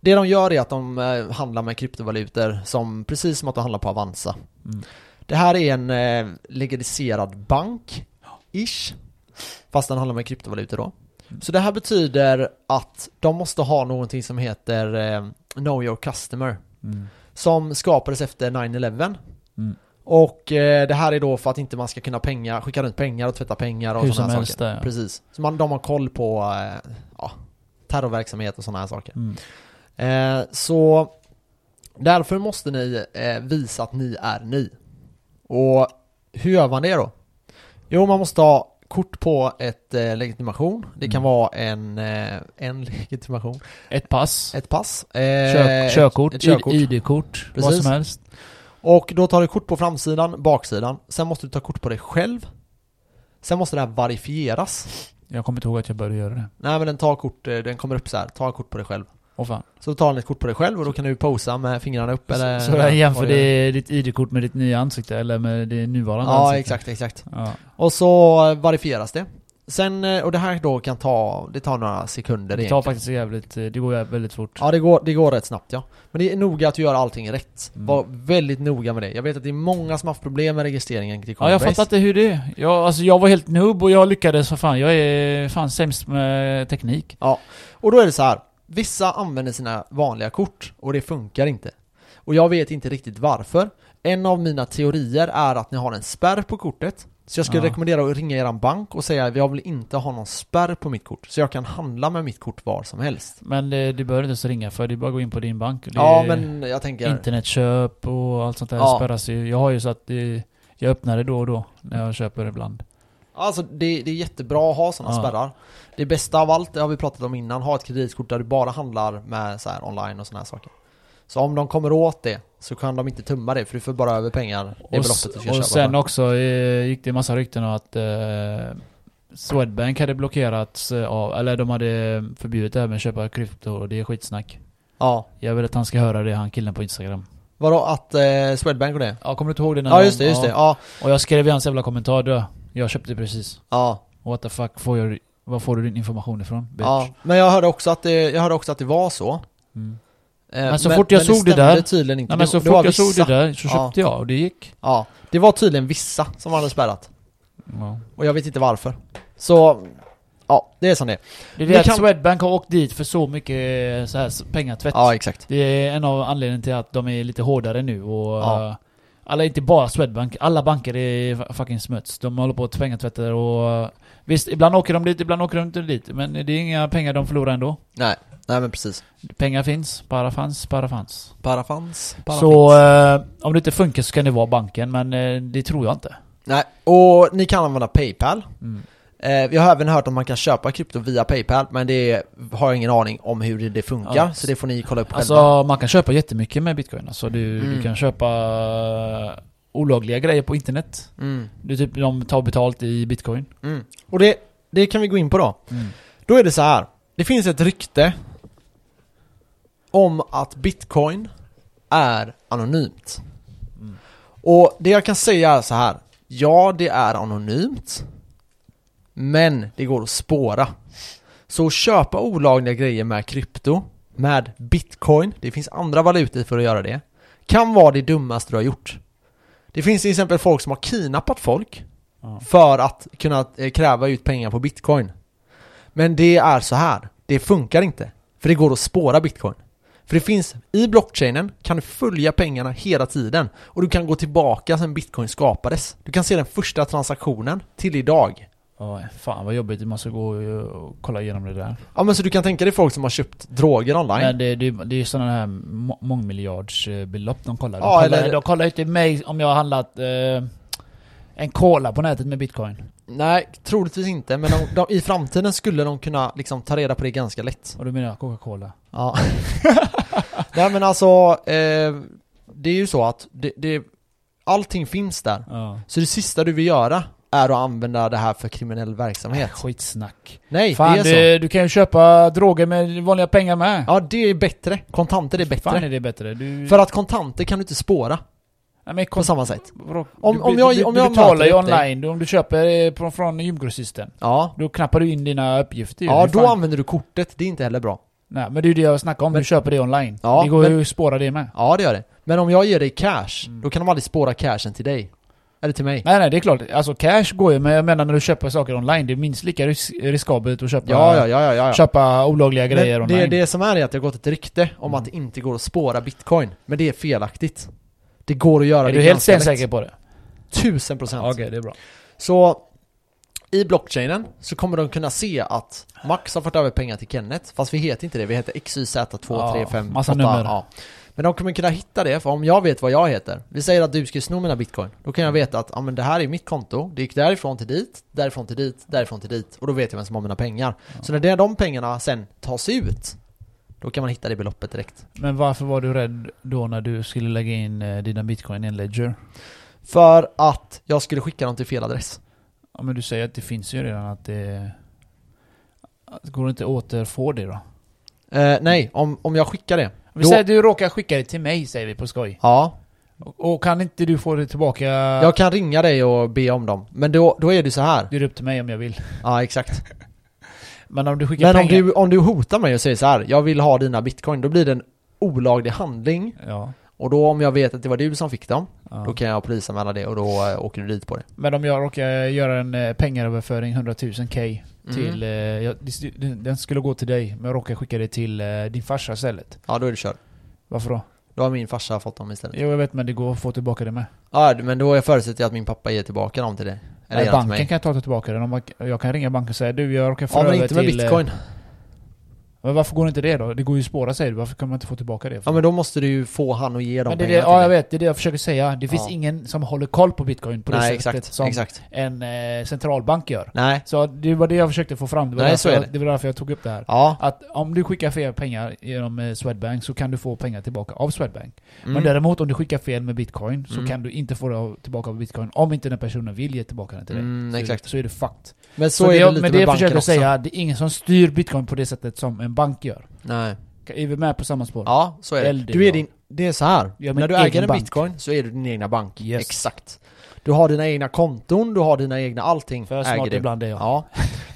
B: det de gör är att de eh, handlar med kryptovalutor som precis som att de handlar på Avanza.
A: Mm.
B: Det här är en eh, legaliserad bank, ish. Fast den handlar med kryptovalutor då.
A: Mm.
B: Så det här betyder att de måste ha någonting som heter eh, Know Your Customer
A: Mm.
B: som skapades efter 9-11.
A: Mm.
B: Och eh, det här är då för att inte man ska kunna pengar, skicka runt pengar och tvätta pengar och
A: Hur
B: sådana
A: som
B: här
A: helst
B: saker.
A: där, ja.
B: Precis. Så man, de har koll på eh, ja, terrorverksamhet och sådana här saker.
A: Mm.
B: Eh, så därför måste ni eh, visa att ni är ni. Och hur gör man det då? Jo, man måste ha kort på ett eh, legitimation. Det
A: Mm.
B: kan vara en, eh, en legitimation.
A: Ett pass.
B: Ett pass. Eh,
A: Kör, körkort,
B: ett körkort.
A: I- ID-kort, vad
B: Precis.
A: som helst.
B: Och då tar du kort på framsidan, baksidan. Sen måste du ta kort på dig själv. Sen måste det här verifieras.
A: Jag kommer inte ihåg att jag började göra det.
B: Nej men den tar kort, eh, den kommer upp så här. Ta kort på dig själv.
A: Åh fan.
B: Så då tar han ett kort på dig själv och då kan du posa med fingrarna upp eller...
A: så den jämför
B: vad du gör.
A: det, ditt ID-kort med ditt nya ansikte, eller med det nuvarande
B: Ja,
A: ansiktet?
B: exakt, exakt.
A: Ja.
B: Och så eh, verifieras det. Sen, eh, och det här då kan ta, det tar några sekunder
A: Det tar
B: egentligen.
A: faktiskt jävligt, eh, det går jä- väldigt fort.
B: Ja det går, det går rätt snabbt ja. Men det är noga att du gör allting rätt.
A: Mm.
B: Var väldigt noga med det. Jag vet att det är många som haft problem med registreringen till
A: Ja, jag
B: Coinbase.
A: fattar inte hur det är. Jag, alltså, jag var helt noob och jag lyckades för fan. Jag är fan sämst med teknik.
B: Och då är det så här. Vissa använder sina vanliga kort och det funkar inte. Och jag vet inte riktigt varför. En av mina teorier är att ni har en spärr på kortet. Så jag skulle
A: Ja.
B: rekommendera att ringa eran bank och säga att jag vill inte ha någon spärr på mitt kort. Så jag kan handla med mitt kort var som helst.
A: Men det, det behöver inte ens ringa för, det är bara att gå in på din bank. Det
B: Ja
A: är
B: men jag tänker...
A: Internetköp och allt sånt där
B: Ja.
A: spärras ju. Jag har ju så att det, jag öppnar det då och då när jag köper ibland.
B: Alltså det, det är jättebra att ha sådana
A: Ja.
B: spärrar. Det bästa av allt, det har vi pratat om innan, ha ett kreditkort där du bara handlar med så här online och sådana här saker. Så om de kommer åt det så kan de inte tumma det för du får bara över pengar, det
A: Och,
B: beloppet du ska
A: och
B: köpa
A: sen
B: för.
A: också eh, gick det en massa rykten om att eh, Swedbank hade blockerats eh, av, eller de hade förbjudit det här med att köpa krypto och det är skitsnack.
B: Ja,
A: Jag vill att han ska höra det, han killen på Instagram.
B: vadå att eh, Swedbank och det?
A: Ja, kommer du inte ihåg det? när
B: Ja
A: de-
B: just det, just det. Ja,
A: Och jag skrev i hans jävla kommentar då. Jag köpte precis.
B: ja,
A: What the fuck, får jag, var får du din information ifrån? Bitch.
B: ja. Men jag hörde också att det, jag hörde också att det var så. Eh,
A: Mm. Men så fort jag
B: det
A: såg det
B: stämde
A: där-
B: tydligen inte.
A: Nej men så
B: var
A: fort jag såg
B: vissa.
A: det där så
B: Ja.
A: köpte jag och det gick.
B: Ja, det var tydligen vissa som hade spärrat.
A: Ja.
B: Och jag vet inte varför. Så, ja, det är som det är.
A: Det är
B: Vi
A: det att
B: kan-
A: Swedbank har åkt dit för så mycket eh, så här, s- pengatvätt.
B: Ja, exakt.
A: Det är en av anledningarna till att de är lite hårdare nu och...
B: Ja.
A: eh, Alla, inte bara Swedbank, alla banker är fa- fucking smuts. De håller på att pengatvättar och... eh, Visst, ibland åker de dit, ibland åker de inte dit. Men det är inga pengar de förlorar ändå.
B: Nej, nej men precis.
A: Pengar finns, bara fanns, bara fanns.
B: Parafans,
A: Så eh, om det inte funkar så kan det vara banken, men eh, det tror jag inte.
B: Nej, och ni kan använda Paypal.
A: Mm.
B: Eh, vi har även hört att man kan köpa krypto via Paypal, men det har jag ingen aning om hur det- det funkar,
A: Ja.
B: så det får ni kolla upp själva.
A: Alltså man kan köpa jättemycket med bitcoin. Alltså, du,
B: Mm.
A: du kan köpa eh, olagliga grejer på internet.
B: Mm,
A: Du, typ, de tar betalt i bitcoin.
B: mm. Och det, det kan vi gå in på då.
A: Mm.
B: Då är det så här. det finns ett rykte om att bitcoin är anonymt.
A: Mm.
B: Och det jag kan säga är så här. ja det är anonymt, men det går att spåra. Så att köpa olagliga grejer med krypto, med bitcoin, det finns andra valutor för att göra det, kan vara det dummaste du har gjort. Det finns till exempel folk som har kidnappat folk
A: Ja.
B: för att kunna eh, kräva ut pengar på bitcoin. Men det är så här, det funkar inte. För det går att spåra bitcoin. För det finns, i blockchainen kan du följa pengarna hela tiden. Och du kan gå tillbaka sedan bitcoin skapades. Du kan se den första transaktionen till idag.
A: Ja, fan vad jobbigt, man ska gå eh, och kolla igenom det där.
B: Ja men så du kan tänka dig folk som har köpt droger online.
A: Men det, det, det är ju sådana här må- mångmiljardsbelopp de kollar. De
B: Ja,
A: kollar,
B: eller-
A: de kollar ju inte mig om jag har handlat eh, en cola på nätet med bitcoin.
B: Nej, troligtvis inte. Men de, de, i framtiden skulle de kunna liksom ta reda på det ganska lätt.
A: Och då menar jag Coca-Cola.
B: Ja. Nej men alltså, eh, det är ju så att det, det, allting finns där.
A: Ja.
B: Så det sista du vill göra är att använda det här för kriminell verksamhet.
A: Skitsnack.
B: Nej,
A: Äh, Fan,
B: det är så.
A: du, du kan ju köpa droger med vanliga pengar med.
B: Ja, det är bättre. Kontanter är bättre.
A: Fan är det bättre. Du,
B: För att kontanter kan du inte spåra
A: nej, men
B: på
A: kont-
B: samma sätt.
A: vadå?
B: om-
A: du,
B: om
A: du-
B: jag-
A: du,
B: om
A: du
B: jag möter
A: betalar ju
B: upp dig.
A: online, om du köper eh, från, från gymgrossisten.
B: Ja.
A: Då knappar du in dina uppgifter ju.
B: Ja,
A: Hur
B: då
A: fan-
B: använder du kortet. Det är inte heller bra.
A: Nej, men det är ju det jag snackar om,
B: Men-
A: du köper det online.
B: Ja,
A: det går
B: men-
A: ju att spåra det med.
B: Ja, det gör det. Men om jag ger dig cash,
A: Mm.
B: då kan de aldrig spåra cashen till dig. Eller till mig.
A: Nej nej, det är klart. Alltså cash går ju, men jag menar när du köper saker online, det är minst lika ris- riskabelt att köpa,
B: Ja, ja, ja, ja, ja. ja.
A: köpa olagliga
B: Men
A: grejer online.
B: det, det som är är att det har gått ett rykte om
A: Mm.
B: att det inte går att spåra bitcoin. Men det är felaktigt. Det går att göra
A: är
B: det
A: du helt
B: ganska lätt.
A: stensäker på det?
B: Tusen procent.
A: Okej, det är bra.
B: Så i blockchainen så kommer de kunna se att Max har fått över pengar till Kenneth, fast vi heter inte det, vi heter XYZ235.
A: Ja, massa nummer.
B: Ja. Men de kommer kunna hitta det, för om jag vet vad jag heter, vi säger att du ska sno mina bitcoin, då kan jag veta att ja, men det här är mitt konto, det gick därifrån till dit, därifrån till dit, därifrån till dit, och då vet jag vem som har mina pengar. Så när det- de pengarna sen tas ut, då kan man hitta det beloppet direkt.
A: Men varför var du rädd då när du skulle lägga in eh, dina bitcoin i en ledger?
B: För att jag skulle skicka dem till fel adress.
A: Ja men du säger att det finns ju redan att det... Att går det inte att återfå det då?
B: Eh, nej, om, om jag skickar det.
A: Vi
B: Då-
A: säger att du råkar skicka det till mig, säger vi på skoj.
B: Ja,
A: Och, och kan inte du få det tillbaka...
B: jag kan ringa dig och be om dem. Men då, då är det så här.
A: Det är upp till mig om jag vill.
B: Ja, exakt.
A: Men om du skickar
B: Men om
A: pengar...
B: du, om du hotar mig och säger så här, jag vill ha dina bitcoin, då blir det en olaglig handling.
A: Ja.
B: Och då om jag vet att det var du som fick dem,
A: ja.
B: då kan jag polisanmäla det och då eh, åker du dit på det.
A: Men om jag råkar göra en eh, pengaöverföring, 100 000 k,
B: Mhm.
A: till... eh, jag, den- den skulle gå till dig, men jag råkar skicka det till eh, din farsa istället.
B: Mm. Ja, då är du körd.
A: Varför då?
B: Då har min farsa fått dem istället.
A: Jo, jag vet men det går att få tillbaka det med.
B: Ja, men då förutsätter jag att min pappa ger tillbaka dem till dig. Eller
A: Nej,
B: ger dem till
A: banken
B: mig.
A: kan ta tillbaka den. Om man, jag kan ringa banken och säga du, jag råkar föra
B: Ja, men
A: över
B: inte med
A: till... eh,
B: bitcoin.
A: Men varför går inte det då? Det går ju att spåra säger du. Varför kan man inte få tillbaka det?
B: Ja, men då måste du ju få han att ge dem
A: Men det är det,
B: pengarna till
A: ja, jag
B: dig.
A: vet. Det är det jag försöker säga. Det finns
B: Ja.
A: ingen som håller koll på bitcoin på det
B: Nej,
A: sättet
B: exakt.
A: som
B: Exakt.
A: en eh, centralbank gör.
B: Nej.
A: Så det var det jag försökte få fram. Det var,
B: Nej, så
A: därför,
B: är
A: jag,
B: det.
A: det var därför jag tog upp det här.
B: Ja.
A: Att om du skickar fel pengar genom eh, Swedbank så kan du få pengar tillbaka av Swedbank.
B: Mm.
A: Men däremot om du skickar fel med bitcoin så
B: Mm.
A: kan du inte få det av- tillbaka av bitcoin om inte den personen vill ge tillbaka den till dig.
B: Mm,
A: så,
B: exakt.
A: så är det fucked.
B: Men
A: Så,
B: så, är
A: det,
B: det
A: jag-
B: lite
A: men
B: med
A: det jag
B: banken
A: försöker
B: också.
A: säga, det är ingen som styr bitcoin på det sättet som en bank gör.
B: Nej.
A: Är vi med på samma spår?
B: Ja, så är det.
A: Väldigt
B: Du är
A: bra.
B: din, det är så här.
A: Ja, men
B: När du
A: egen
B: äger en
A: bank.
B: bitcoin så är du din egna bank.
A: Yes.
B: Exakt. Du har dina egna konton, du har dina egna allting.
A: För
B: äger
A: smart
B: du.
A: ibland är jag.
B: Ja.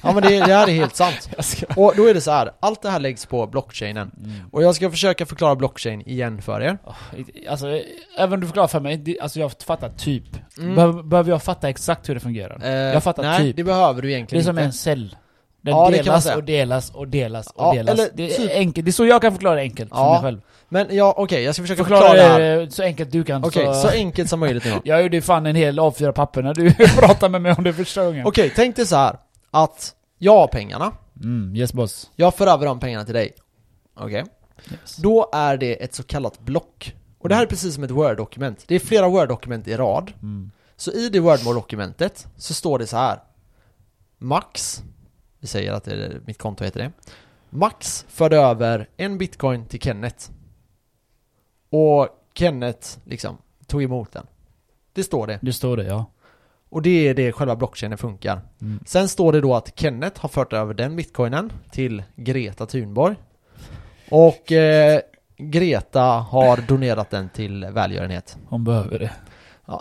B: ja, men det, det här är helt sant. Och då är det så här. allt det här läggs på blockchainen.
A: Mm.
B: Och jag ska försöka förklara blockchain igen för er.
A: Alltså, eh, även om du förklarar för mig, det- alltså jag fattar typ.
B: Mm.
A: Behöver, behöver jag fatta exakt hur det fungerar?
B: Eh,
A: jag fattar
B: nej,
A: typ.
B: det behöver du
A: Det är
B: egentligen
A: som en
B: inte.
A: cell. Den
B: Ja, det kan man
A: delas
B: säga.
A: och delas och delas och
B: Ja,
A: delas.
B: eller
A: det är
B: typ-
A: enkelt. Det är så jag kan förklara det enkelt för
B: Ja,
A: mig själv.
B: Men ja, okej, jag ska försöka förklara,
A: Förklara
B: det här.
A: det eh, så enkelt du kan.
B: Okej,
A: så...
B: så enkelt som möjligt nu då.
A: Jag gjorde ju fan en hel A4-papper när du pratade med mig om det första gången.
B: Okej, tänk dig så här. Att jag har pengarna.
A: Mm, yes boss.
B: Jag för över de pengarna till dig. Okej.
A: Yes.
B: Då är det ett så kallat block. Och det här är precis som ett Word-dokument. Det är flera Word-dokument i rad.
A: Mm.
B: Så i det Word-dokumentet så står det så här. Max, vi säger att det är, mitt konto heter det. Max förde över en bitcoin till Kenneth. Och Kenneth liksom tog emot den. Det står det.
A: Det står det ja.
B: Och det är det själva blockchainen funkar.
A: Mm.
B: Sen står det då att Kenneth har fört över den bitcoinen till Greta Thunborg. Och eh, Greta har donerat den till välgörenhet.
A: Hon behöver det.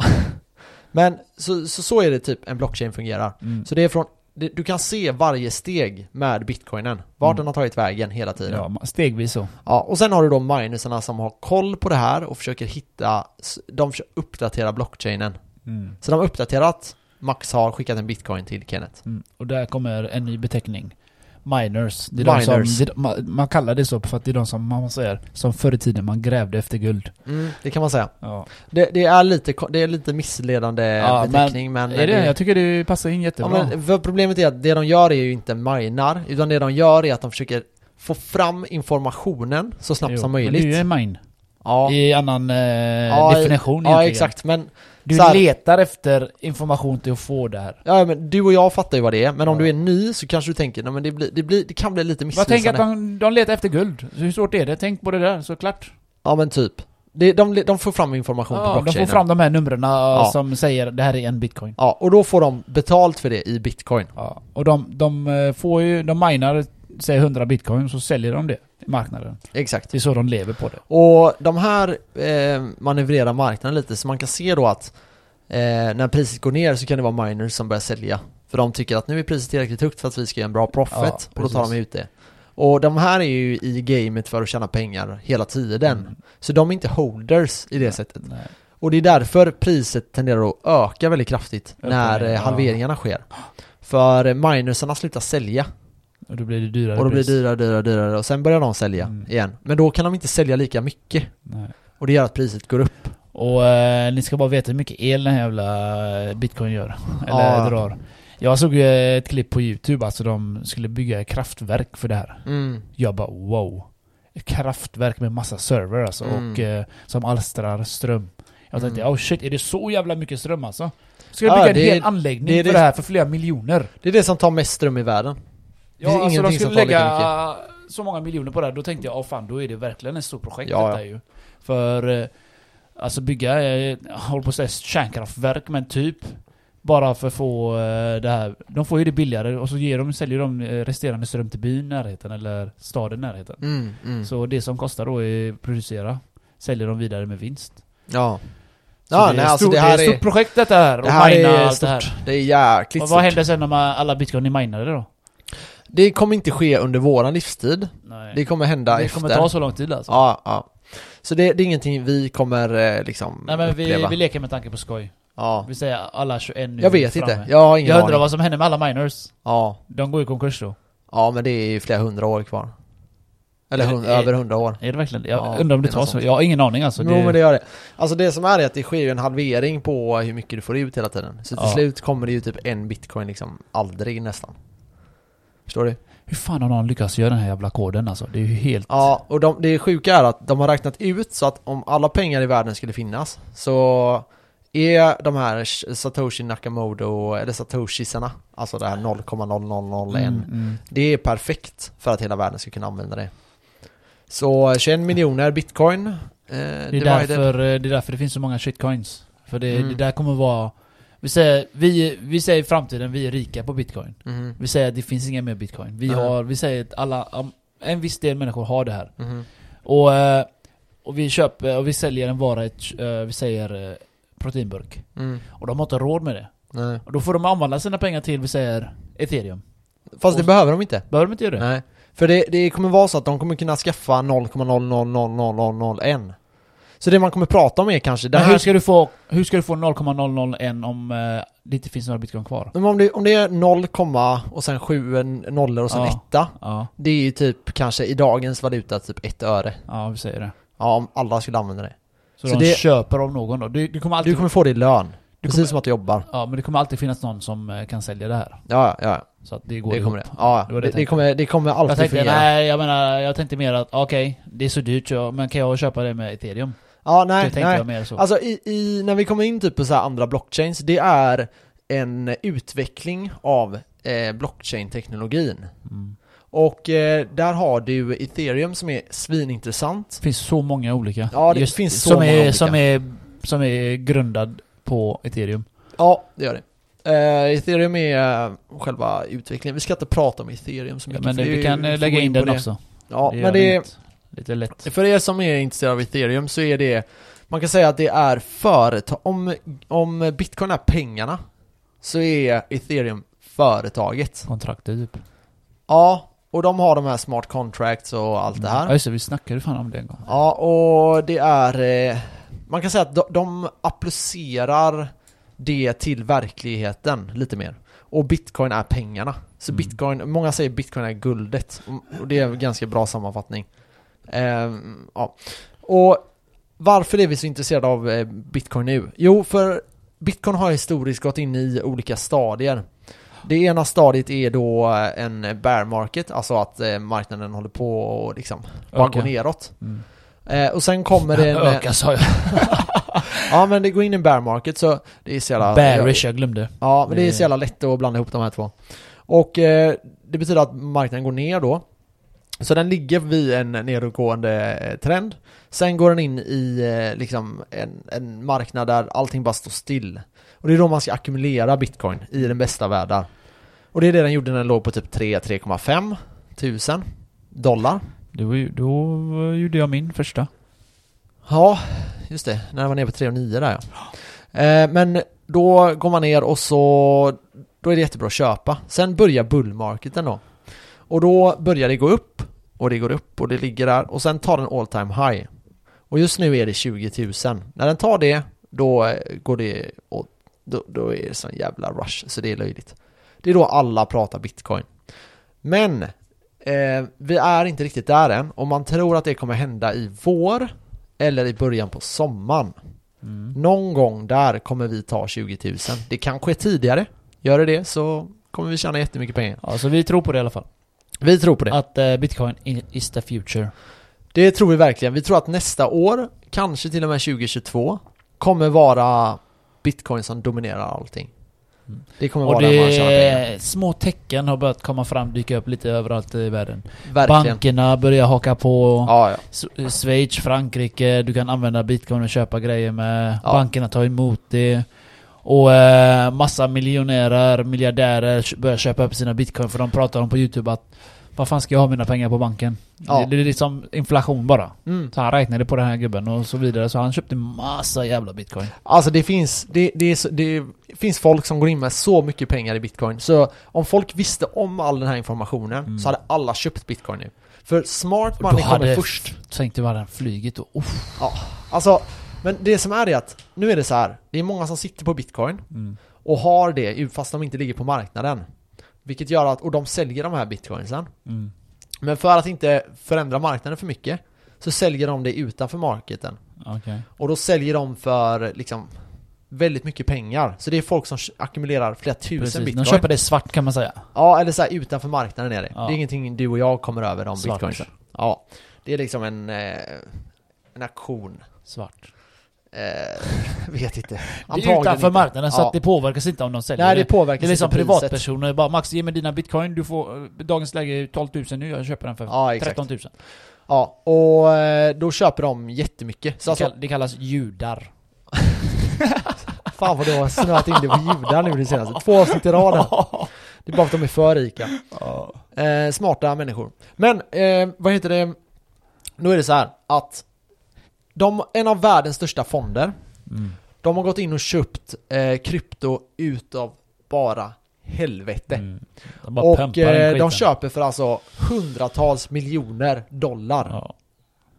B: Men så, så, så är det typ en blockchain fungerar.
A: Mm.
B: Så det är från, det, du kan se varje steg med bitcoinen. Vart
A: Mm.
B: den har tagit vägen hela tiden.
A: Ja,
B: Ja.
A: ma- stegvis så.
B: och sen har du då minersarna som har koll på det här och försöker hitta, s- de försöker uppdatera blockchainen. Så de har uppdaterat Max har skickat en bitcoin till Kenneth.
A: Mm. Och där kommer en ny beteckning. Miners. Det är De
B: Miners.
A: som, det, är de- man, man kallar det så för att det är de som, man säger, som förr i tiden man grävde efter guld.
B: Mm, det kan man säga.
A: Ja.
B: Det, det, är, lite, ko- det är lite missledande
A: Ja, men-
B: beteckning men...
A: är det, jag tycker det passar in
B: ja,
A: jättebra.
B: men för problemet är att det de gör är ju inte minar, utan det de gör är att de försöker få fram informationen så snabbt
A: Jo,
B: som
A: men
B: möjligt.
A: Det är ju en mine.
B: Ja,
A: I annan eh,
B: Ja,
A: definition
B: ja
A: egentligen.
B: exakt. Men,
A: Du
B: Så här-
A: letar efter information till att få det här.
B: ja, men du och jag fattar ju vad det är, men om
A: Ja.
B: du är ny så kanske du tänker nej, men det, blir, det, blir, det kan bli lite
A: Jag tänker att de,
B: missvisande.
A: de letar efter guld. Så hur svårt är det? Tänk på det där, såklart.
B: Ja men typ. Det, de, de får fram information på
A: Ja, de
B: blockchainen.
A: får fram de här numren eh,
B: Ja.
A: som säger det här är en bitcoin.
B: Ja, och då får de betalt för det i bitcoin.
A: Ja, och de, de eh, får ju, de minar, säg 100 bitcoin, så säljer de det i marknaden.
B: Exakt.
A: Det är så de lever på det.
B: Och de här eh, manövrerar marknaden lite så man kan se då att eh, när priset går ner så kan det vara miners som börjar sälja. För de tycker att nu är priset tillräckligt högt för att vi ska göra en bra
A: Ja,
B: profit och då tar de
A: precis.
B: ut det. Och de här är ju i gamet för att tjäna pengar hela tiden.
A: Mm.
B: Så de är inte holders i det
A: Nej,
B: sättet.
A: nej.
B: Och det är därför priset tenderar att öka väldigt kraftigt
A: Öka,
B: när eh,
A: ja.
B: halveringarna sker. För eh, minersarna slutar sälja
A: Och då blir det dyrare
B: och då blir det
A: pris.
B: dyrare, dyrare, dyrare och sen börjar de sälja
A: Mm.
B: igen. Men då kan de inte sälja lika mycket
A: Nej.
B: och det gör att priset går upp.
A: Och eh, ni ska bara veta hur mycket el den här jävla eh, bitcoin gör. Eller
B: Ja.
A: drar. Jag såg eh, ett klipp på youtube, alltså de skulle bygga ett kraftverk för det här.
B: Mm.
A: Jag bara wow. Ett kraftverk med massa server alltså,
B: Mm.
A: och eh, som alstrar ström. Jag tänkte
B: Mm.
A: oh shit, är det så jävla mycket ström alltså? Ska
B: Ja,
A: jag bygga en
B: det är-
A: hel anläggning
B: det är
A: för
B: det-
A: det här för flera miljoner?
B: Det är det som tar mest ström i världen. finns
A: Ja, alltså de
B: ingenting som
A: skulle
B: tar lika
A: lägga så många miljoner på det här, då tänkte jag åh fan, då är det verkligen ett stort projekt
B: Ja,
A: detta
B: ja.
A: ju. För, eh, alltså bygga, eh, jag håller på att säga kärnkraftverk, men typ Bara för att få eh, det här. De får ju det billigare och så ger de, säljer de eh, resterande ström till byn i närheten eller staden i närheten.
B: Mm, mm.
A: Så det som kostar då är att producera. Säljer de vidare med vinst.
B: Ja.
A: Så
B: Ja,
A: det,
B: nej,
A: är
B: alltså
A: stort,
B: det här
A: är ett
B: är...
A: stort projekt detta här.
B: Det här
A: och mina
B: är
A: allt det här.
B: stort. Det är jäkligt
A: Och vad
B: stort.
A: händer sen när man, alla bitcoin är minade då?
B: Det kommer inte ske under våran livstid.
A: Nej.
B: Det kommer hända
A: det
B: efter.
A: kommer ta så lång tid alltså.
B: Ja, ja. Så det, det är ingenting vi kommer eh, liksom
A: Nej men vi,
B: uppleva.
A: vi leker med tanke på skoj.
B: ja.
A: Vi säger alla 21 nu
B: Jag vet
A: framme.
B: inte. Jag har ingen
A: Jag undrar
B: aning.
A: vad som händer med alla miners.
B: Ja.
A: De går i konkurs då.
B: ja, men det är ju flera hundra år kvar. Eller
A: Är det-
B: hun-
A: är-
B: över hundra år.
A: Är det verkligen det? Jag
B: Ja,
A: undrar om det
B: det är
A: tar
B: något
A: så.
B: sånt.
A: Jag har ingen aning alltså.
B: Jo men det gör det. Alltså det som är är att det sker ju en halvering på hur mycket du får ut hela tiden. Så till
A: Ja.
B: slut kommer det ju typ en bitcoin liksom aldrig nästan. Förstår du?
A: Hur fan har någon lyckats göra den här jävla koden alltså? Det är ju helt...
B: Ja, och de, det sjuka är att de har räknat ut så att om alla pengar i världen skulle finnas så är de här Sh- Satoshi Nakamoto, eller Satoshisarna, alltså det här 0,0001,
A: Mm, mm.
B: det är perfekt för att hela världen ska kunna använda det. Så 21 miljoner bitcoin, eh,
A: Det, är därför, eh, det är därför det finns så många shitcoins. För det,
B: Mm.
A: det där kommer vara... Vi säger, vi, vi säger i framtiden, vi är rika på bitcoin.
B: Mhm,
A: Vi säger att det finns inga mer bitcoin. Vi,
B: Nej.
A: har, vi säger att alla, um, en viss del människor har det här.
B: mhm.
A: Och, eh, och vi köper, och vi säljer en vara, i ett, eh, vi säger eh, proteinburk.
B: Mm,
A: Och de har inte råd med det.
B: nej.
A: Och då får de använda sina pengar till, vi säger, ethereum.
B: Fast det behöver de inte.
A: Behöver de inte göra det?
B: Nej. För det, det kommer vara så att de kommer kunna skaffa 0,0000001. Så det man kommer prata om är kanske, det
A: Men
B: här
A: hur ska du få, hur ska du få 0,001 om eh, det inte finns några bitcoin kvar?
B: Men om det, om det är 0, och sen 7 nollor och sen
A: Ja.
B: etta.
A: Ja,
B: Det är ju typ kanske i dagens valuta typ ett öre.
A: ja vi säger det.
B: Ja, om alla skulle använda det.
A: Så,
B: Så
A: de
B: det-
A: köper av någon då? Du, du kommer alltid...
B: Du kommer få det i lön.
A: du
B: Precis
A: kommer-
B: som att du jobbar.
A: Ja, men det kommer alltid finnas någon som eh, kan sälja det här.
B: Ja, ja, ja.
A: Så att det går
B: det kommer det.
A: ihop.
B: Ja,
A: Det
B: det,
A: var det
B: det,
A: jag tänkte.
B: kommer, det kommer alltid
A: Jag tänkte,
B: fungera.
A: nej, jag menar, jag tänkte mer att okej, det är så dyrt, ja, men kan jag köpa det med ethereum?
B: Ja,
A: Nej,
B: nej,
A: tänkte
B: nej.
A: jag mer så.
B: Alltså i, i, när vi kommer in typ på så här andra blockchains, det är en utveckling av eh, blockchain-teknologin.
A: mm.
B: Och eh, där har du ethereum som är svinintressant.
A: Det finns så många olika.
B: Ja, det finns så
A: som
B: många
A: är,
B: olika.
A: Som är, som är grundad på ethereum.
B: Ja, det gör det. Eh, ethereum är eh, själva utvecklingen. Vi ska inte prata om ethereum så
A: Ja,
B: mycket.
A: men
B: för
A: det,
B: är
A: vi
B: ju-
A: kan
B: får
A: eh, lägga
B: gå
A: in
B: på
A: den
B: det.
A: också.
B: Ja,
A: gör
B: men det är,
A: inget. Lite lätt.
B: för er som är intresserade av ethereum så är det, man kan säga att det är företag, om, om bitcoin är pengarna så är ethereum företaget.
A: Kontraktet typ.
B: Ja, och de har de här smart contracts och allt det
A: Mm. Ja
B: här.
A: just det, vi snackade ju fan om det en gång.
B: Ja, och det är, eh, man kan säga att de, de applicerar det till verkligheten lite mer. Och bitcoin är pengarna. Så
A: Mm.
B: bitcoin, många säger bitcoin är guldet. Mm, Och- Och det är en ganska bra sammanfattning. Ehm, ja. Och varför är vi så intresserade av eh, bitcoin nu? Jo, för bitcoin har historiskt gått in i olika stadier. Det ena stadiet är då eh, en bear market, alltså att eh, marknaden håller på och liksom bara
A: Öka.
B: går neråt.
A: Mm.
B: Eh, och sen kommer det en... eh,
A: Öka sa jag.
B: Ja men det går in i en bear market så det är så jävla...
A: Bearish, jag glömde.
B: Ja men det är så jävla lätt att blanda ihop de här två. Och eh, det betyder att marknaden går ner då. Så den ligger vid en nedåtgående eh, trend. Sen går den in i eh, liksom en, en marknad där allting bara står still. Och det är då man ska ackumulera bitcoin i den bästa världen. Och det är det den gjorde när den låg på typ 3-3,5 tusen dollar.
A: Det var ju, då eh, gjorde jag min första.
B: Ja, just det. När den var nere på 3 och 9 där ja. Eh, men då går man ner och så då är det jättebra att köpa. Sen börjar bullmarketen då. Och då börjar det gå upp och det går upp och det ligger där och sen tar den all time high. Och just nu är det 20 000. När den tar det, då eh, går det åt, då, då är det sån jävla rush så det är löjligt. Det är då alla pratar bitcoin. Men eh, vi är inte riktigt där än och man tror att det kommer hända i vår eller i början på sommaren.
A: Mm.
B: Någon gång där kommer vi ta 20 000. Det kan ske tidigare. Gör det det så kommer vi tjäna jättemycket pengar.
A: Ja, så vi tror på det i alla fall.
B: Vi tror på det.
A: Att eh, bitcoin i- is the future.
B: Det tror vi verkligen. Vi tror att nästa år, kanske till och med 2022, kommer vara bitcoin som dominerar allting.
A: Mm.
B: Det kommer
A: Och
B: vara där man tjänar pengar.
A: det små tecken har börjat komma fram, dyka upp lite överallt i världen.
B: Verkligen.
A: Bankerna börjar haka på.
B: Ja, ja.
A: S- eh, Schweiz, Frankrike, du kan använda bitcoin och köpa grejer med.
B: Ja.
A: Bankerna tar emot det. Och eh, massa miljonärer, miljardärer kö- börjar köpa upp sina bitcoin för de pratar om på youtube att Vad fan ska jag ha mina pengar på banken?
B: Ja.
A: Det, det är liksom inflation bara.
B: Mm.
A: Så han räknade på den här gubben och så vidare så han köpte massa jävla bitcoin.
B: Alltså det finns, det, det, är så- det finns folk som går in med så mycket pengar i bitcoin. Så om folk visste om all den här informationen
A: Mm.
B: så hade alla köpt bitcoin nu. För smart
A: Då
B: money kommer
A: hade-
B: först.
A: Tänk dig vad den flugit och uff.
B: Alltså, men det som är är att nu är det så här. Det är många som sitter på bitcoin och har det fast de inte ligger på marknaden. Vilket gör att, och de säljer de här bitcoinsen.
A: Mm.
B: Men för att inte förändra marknaden för mycket så säljer de det utanför marketen.
A: Okej.
B: Och då säljer de för liksom väldigt mycket pengar. Så det är folk som ackumulerar flera tusen
A: Precis.
B: bitcoin.
A: De köper det svart kan man säga.
B: Ja, eller så här utanför marknaden är det.
A: Ja.
B: Det är ingenting du och jag kommer över om
A: Svart.
B: bitcoinsen. Ja, det är liksom en, eh, en aktion.
A: Svart.
B: Eh, vet inte.
A: Det är utanför
B: inte.
A: marknaden så
B: Ja.
A: att det påverkas inte om de säljer
B: Nej,
A: det.
B: det påverkar
A: Det är liksom
B: inte priset.
A: privatpersoner, bara Max ge mig dina bitcoin, du får, eh, dagens läge är 12 000 nu, jag köper den för
B: Ja, exakt.
A: 13 000.
B: Ja, och eh, då köper de jättemycket. Så
A: Det,
B: alltså,
A: kall, det kallas judar.
B: fan vad du har snöat in det på judar nu det senaste. Två avsnitt i rad här. Det är bara för att de är för rika. Eh, smarta människor. Men, eh, vad heter det? Då är det så här att de, en av världens största fonder,
A: Mm.
B: de har gått in och köpt eh, krypto utav bara helvete.
A: Mm. De bara
B: och
A: pumpar den
B: eh, de
A: skiten.
B: köper för alltså hundratals miljoner dollar.
A: Ja.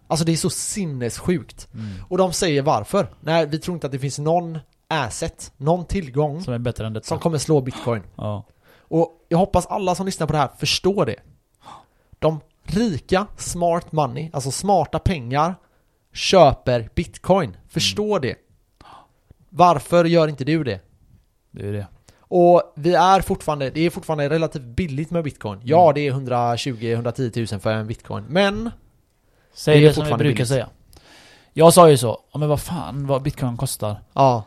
B: Alltså det är så sinnessjukt.
A: Mm.
B: Och de säger varför? Nej, vi tror inte att det finns någon asset, någon tillgång
A: Som är bättre än detta.
B: som kommer slå bitcoin.
A: ja.
B: Och jag hoppas alla som lyssnar på det här förstår det. De rika, smart money, alltså smarta pengar, köper bitcoin. Förstå
A: Mm.
B: det. Varför gör inte du det?
A: Det är det.
B: Och vi är fortfarande, det är fortfarande relativt billigt med bitcoin.
A: Mm.
B: Ja, det är 120-110 000 för en bitcoin. Men,
A: Säg
B: Det är
A: det, som vi
B: fortfarande
A: brukar
B: billigt.
A: säga. Jag sa ju så, ja, men vad fan vad bitcoin kostar?
B: ja.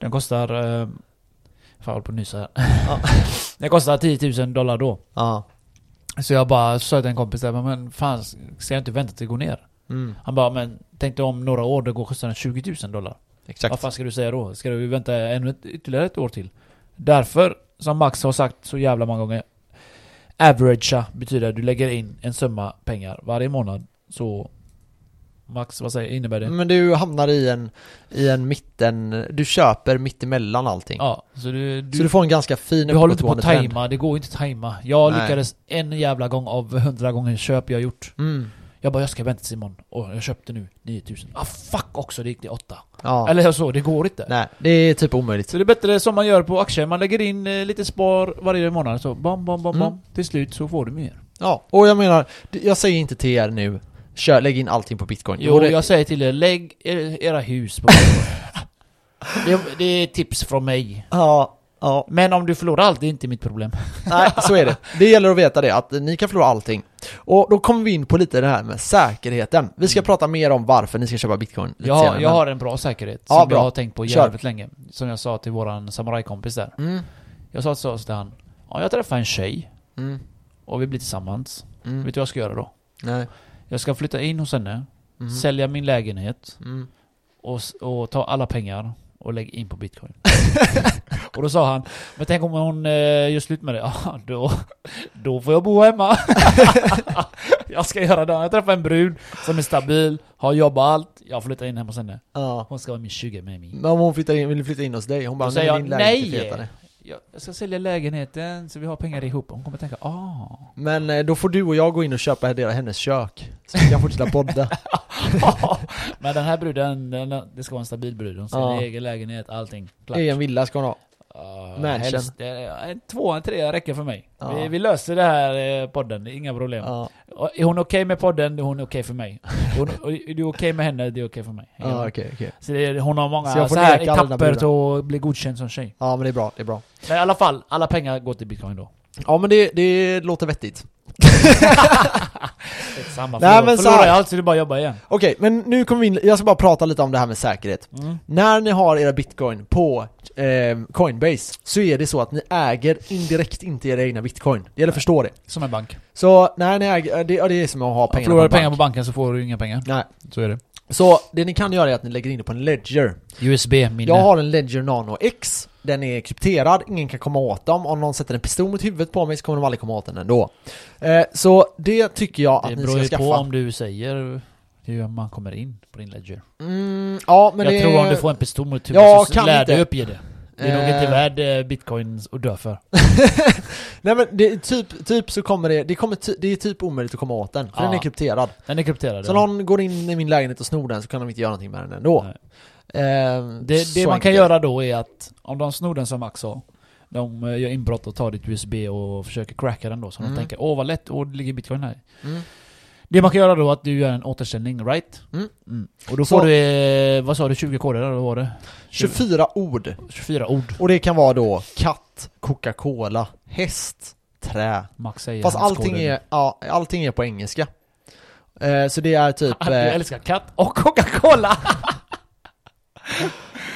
A: Den kostar... Eh, fan jag håller på att nysa här. den kostar 10 000 dollar då.
B: ja.
A: Så jag bara sa till en kompis där, men fan ska jag inte vänta tills det går ner?
B: Mm,
A: Han bara, men tänk dig om några år, då går kostar den 20 000 dollar. Vad
B: exakt.
A: fan ska du säga då? Ska du vänta ännu ett, ytterligare ett år till? Därför, som Max har sagt så jävla många gånger Averagea betyder att du lägger in en summa pengar varje månad Så Max, vad säger, innebär det?
B: Men du hamnar i en, i en mitten, du köper mittemellan allting.
A: Ja, så du, du,
B: så du får en ganska fin
A: du håller inte på att
B: uppåtgående trend.
A: tajma, det går inte att tajma Jag
B: Nej.
A: lyckades en jävla gång av hundra gånger köp jag gjort
B: Mm,
A: Jag bara, jag ska vänta tills imorgon och jag köpte nu 9000 Ah fuck också, det gick till 8
B: ja.
A: Eller så, det går inte
B: Nej, det är typ omöjligt.
A: Så det är bättre som man gör på aktier, man lägger in eh, lite spar varje månad så bam, bam, bam,
B: Mm.
A: bam. Till slut så får du mer.
B: Ja, och jag menar, det- jag säger inte till er nu, kör, lägg in allting på bitcoin.
A: Jo,
B: Både-
A: jag säger till er, lägg er, era hus på det, det är tips från mig.
B: Ja, ja.
A: Men om du förlorar allt, det är inte mitt problem.
B: Nej, så är det. Det gäller att veta det, att ni kan förlora allting. Och då kommer vi in på lite det här med säkerheten. Vi ska prata mer om varför ni ska köpa bitcoin lite
A: Mm. Jag, har-
B: senare,
A: jag
B: men-
A: har en bra säkerhet
B: Ja,
A: som
B: bra.
A: jag har tänkt på
B: Kör.
A: jävligt länge. Som jag sa till våran samurajkompis där.
B: Mm,
A: Jag sa så till han, ja, jag träffar en tjej
B: mm,
A: och vi blir tillsammans.
B: mm.
A: Vet du vad jag ska göra då?
B: Nej.
A: Jag ska flytta in hos henne,
B: Mm,
A: sälja min lägenhet
B: mm.
A: och, s- och ta alla pengar och lägga in på bitcoin. och då sa han, men tänk om hon eh, gör slut med det? Ja, då, då får jag bo hemma. jag ska göra det. Jag träffar en brud som är stabil, har jobb och allt. Jag flyttar in hemma hos henne.
B: Ja.
A: Hon ska vara min 20 med mig.
B: Men om hon flyttar in, vill flytta in hos dig, hon bara
A: Då säger
B: "Nej,
A: jag
B: din lägenhet är
A: nej."
B: fetare."
A: Jag, jag ska sälja lägenheten så vi har pengar ihop. Hon kommer tänka, ah.
B: Men eh, då får du och jag gå in och köpa deras- hennes kök. Så vi kan fortsätta podda.
A: men den här bruden, den, det ska vara en stabil brud. Hon ska
B: Ja.
A: ha en egen lägenhet, allting. Klart.
B: Egen villa ska hon ha.
A: Ja,
B: Mansion.
A: helst, eh, en två, en trea räcker för mig.
B: Ja.
A: Vi, vi löser det här eh, podden, det är inga problem.
B: Ja,
A: Och Är hon okej med podden, då är hon okej för mig. Hon, och är du okej med henne, det är okej för mig.
B: ja okej, okej.
A: Så det, är- hon har många
B: Så jag
A: så,
B: får
A: här
B: neka alla dina
A: etapper till att bli godkänd som tjej.
B: Ja men det är bra, det är bra.
A: Men i alla fall, alla pengar går till bitcoin då.
B: Ja men det, det låter vettigt.
A: Samma,
B: Nej,
A: förlorar,
B: men så
A: förlorar
B: här-
A: jag allt så det är bara att jobba igen.
B: Okej, men nu kommer vi in, jag ska bara prata lite om det här med säkerhet.
A: Mm.
B: När ni har era bitcoin på eh, Coinbase så är det så att ni äger indirekt inte era egna bitcoin. Det gäller att förstå det.
A: Som en bank.
B: Så när ni äger, ja, det, ja, det är som att ha pengar
A: Förlorar du
B: bank.
A: pengar på banken så får du inga pengar.
B: Nej.
A: Så är det.
B: Så det ni kan göra är att ni lägger in det på en ledger.
A: USB-minne.
B: Jag har en Ledger Nano X. Den är krypterad, ingen kan komma åt dem. Om någon sätter en pistol mot huvudet på mig så kommer de aldrig komma åt den ändå. Eh, så det tycker jag
A: det
B: att ni
A: beror
B: ska
A: ju på
B: skaffa.
A: om du säger hur man kommer in på din ledger.
B: Mm, ja, men
A: jag
B: det...
A: tror om du får en pistol mot huvudet
B: Ja,
A: så
B: kan
A: lär
B: inte.
A: dig uppge det. Det är nog
B: Eh.
A: inte värd eh, bitcoins att dö för.
B: Nej men det, är typ, typ så kommer det... Det, kommer ty, det är typ omöjligt att komma åt den, för
A: Ja.
B: den är krypterad.
A: Den är krypterad.
B: Så
A: ja.
B: någon går in i min lägenhet och snor den så kan de inte göra någonting med den ändå.
A: Nej.
B: Eh,
A: Det,
B: så
A: det man kan
B: enkelt.
A: göra då är att om de snor den som Max sa, de eh, gör inbrott och tar ditt USB och försöker cracka den då, så
B: Mm.
A: de tänker åh vad lätt, åh det ligger bitcoin här.
B: Mm.
A: Det man kan göra då är att du gör en återställning, right?
B: Mm.
A: Och då
B: Så-
A: får du, eh, vad sa du, 20 koder eller vad var det?
B: 24 ord.
A: 24 ord,
B: Och det kan vara då katt, Coca-Cola, häst, trä.
A: Max säger.
B: Fast
A: hans
B: allting
A: koder.
B: är, ja, allting är på engelska. Eh, så det är typ...
A: Att du
B: Eh,
A: älskar katt och Coca-Cola!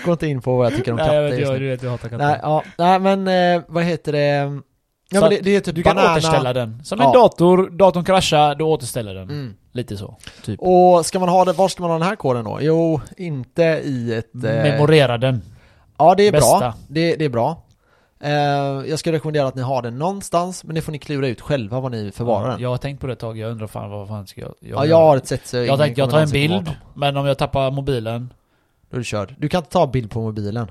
B: gå inte in på vad jag tycker om
A: Nej jag vet,
B: katter
A: jag,
B: just
A: du
B: nu.
A: vet jag hatar katter.
B: Nej, ja, nej men eh, vad heter det? Ja,
A: Så
B: men det,
A: att
B: det är typ
A: Du kan
B: banana.
A: återställa den. Som
B: Ja.
A: en dator, datorn kraschar, du återställer den.
B: Mm.
A: Lite så. Typ.
B: Och ska man ha det, var ska man ha den här koden då? Jo, inte i ett... eh,
A: Memorera den.
B: Ja, det är bra.
A: Bästa.
B: Det, det är bra. Eh, jag skulle rekommendera att ni har den någonstans, men det får ni klura ut själva var ni förvarar den.
A: Jag har tänkt på det ett tag, jag undrar fan vad fan ska jag...
B: Ja, jag har ett sätt så ingen
A: jag tänkte jag
B: kommer
A: tar en
B: någonsin komma åt
A: bild,
B: dem.
A: men om jag tappar mobilen...
B: Då är du körd. Du kan inte ta bild på mobilen.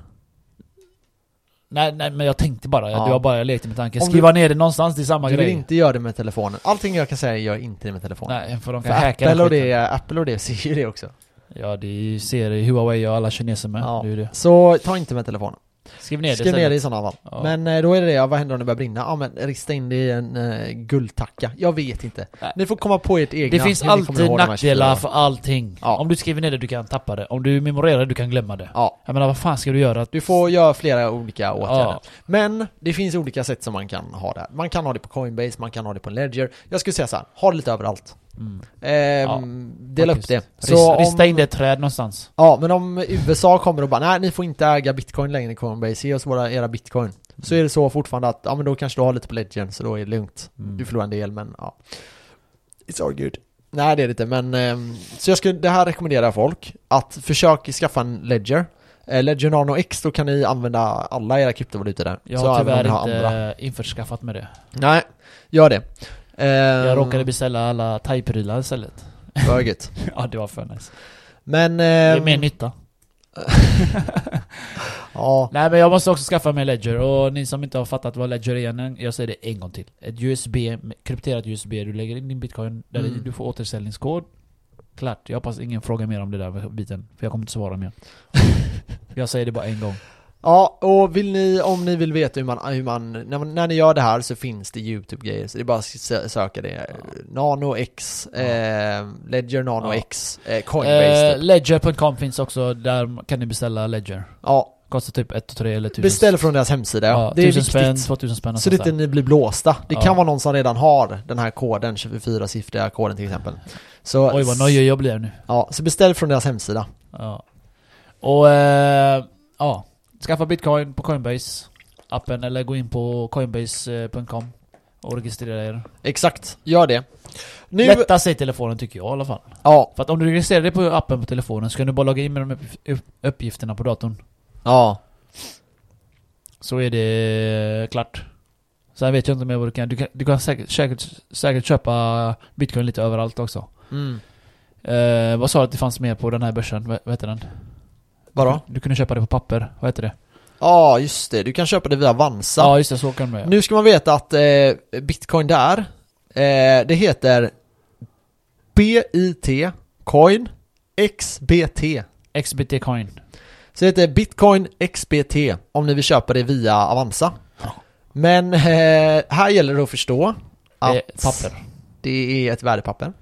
A: Nej, nej men jag tänkte bara,
B: Ja.
A: jag, det var bara jag lekte med tanken.
B: Om du-
A: Skriva ner det någonstans, det är samma
B: Du vill
A: grej.
B: inte göra det med telefonen. Allting jag kan säga gör jag inte med telefonen.
A: Nej, för de
B: För
A: kan hacka den
B: Apple, och
A: skiten.
B: det, Apple och det ser ju det också.
A: Ja, det är ju- ser i Huawei och alla kineser med.
B: Ja.
A: Det är ju det.
B: Så ta inte med telefonen.
A: Skriv ner det
B: Skriv ner det
A: istället.
B: i sådana fall.
A: Ja.
B: Men eh, då är det det, ja, vad händer om det börjar brinna? Ja men rista in det i en eh, guldtacka. Jag vet inte.
A: Nej.
B: Ni får komma på ert
A: Det,
B: egna.
A: finns
B: hur ni kommer
A: alltid
B: ihåg de här 24
A: nackdelar
B: åren.
A: för allting.
B: Ja.
A: Om du skriver ner det, du kan tappa det. Om du memorerar det, du kan glömma det.
B: Ja.
A: Jag menar, vad fan ska du göra?
B: Du får göra flera olika åtgärder.
A: Ja.
B: Men det finns olika sätt som man kan ha det. här. Man kan ha det på Coinbase, man kan ha det på en Ledger. Jag skulle säga så här, ha det lite överallt.
A: Mm.
B: Ehm, dela upp det.
A: Så
B: om-
A: Rista in det i ett träd någonstans.
B: Ja, men om USA kommer och bara nej, ni får inte äga bitcoin längre i Coinbase, ge oss våra, era bitcoin. Så är det så fortfarande att, ja men då kanske du har lite på Ledger, så då är det lugnt.
A: Mm.
B: Du förlorar en del, men ja. It's all good. Nej, det är det inte, men ehm, så jag skulle, det här rekommenderar jag folk. Att försök skaffa en Ledger. Eh, Ledger Nano X, då kan ni använda alla era kryptovalutor där.
A: Jag
B: Så
A: har
B: även om ni
A: tyvärr
B: har
A: inte
B: andra.
A: införskaffat med det.
B: Nej, gör det.
A: Jag
B: Ehm,
A: råkade beställa alla thai-prylar istället.
B: det var gött.
A: ja, det var för nice.
B: Men...
A: Det är
B: ehm,
A: mer nytta.
B: ja,
A: Nej men jag måste också skaffa mig Ledger, och ni som inte har fattat vad Ledger är än, jag säger det en gång till. Ett USB, krypterat USB, du lägger in din bitcoin, där
B: Mm.
A: du får återställningskod. Klart, jag hoppas ingen frågar mer om det där biten, för jag kommer inte svara mer. jag säger det bara en gång.
B: Ja, och vill ni, om ni vill veta hur man, hur man när, man- när ni gör det här så finns det YouTube-grejer, så det är bara att sö- söka det. Nano X, eh, Ledger Nano
A: Ja.
B: X, eh, Coinbase.
A: Eh,
B: typ.
A: Ledger.com finns också, där kan ni beställa Ledger.
B: Ja,
A: Kostar typ 1 3 eller 1000
B: beställ från deras hemsida,
A: ja,
B: ja. det är
A: 1000
B: viktigt.
A: spänn, 2000 spänn
B: så det inte
A: någonstans
B: ni blir blåsta. Det
A: Ja.
B: kan vara någon som redan har den här koden, 24-siffriga koden till exempel. Så,
A: där. Oj vad nöjd jag blev nu.
B: Ja, så beställ från deras hemsida.
A: Ja. Och eh, ja, skaffa bitcoin på Coinbase appen eller gå in på coinbase.com och registrera er.
B: Exakt, gör det. Nu,
A: Lättast är telefonen tycker jag i alla fall.
B: ja,
A: För att om du registrerar dig på appen på telefonen så kan du bara logga in med de upp- upp- uppgifterna på datorn.
B: ja,
A: Så är det eh, klart. Sen vet jag inte mer vad du kan. Du kan, du kan säkert, säkert, säkert köpa bitcoin lite överallt också.
B: mm.
A: Eh, vad sa du att det fanns mer på den här börsen? Vad, vad heter den?
B: vadå?
A: Du kunde köpa det på papper. Vad heter det?
B: Ja, just det, du kan köpa det via Avanza.
A: Ja just det, så kan man göra.
B: Nu ska man veta att eh, bitcoin där, eh, det heter BIT coin XBT.
A: XBT coin.
B: Så det heter bitcoin XBT om ni vill köpa det via Avanza.
A: Ja.
B: Men eh, här gäller det att förstå att
A: Eh, papper.
B: det är ett värdepapper.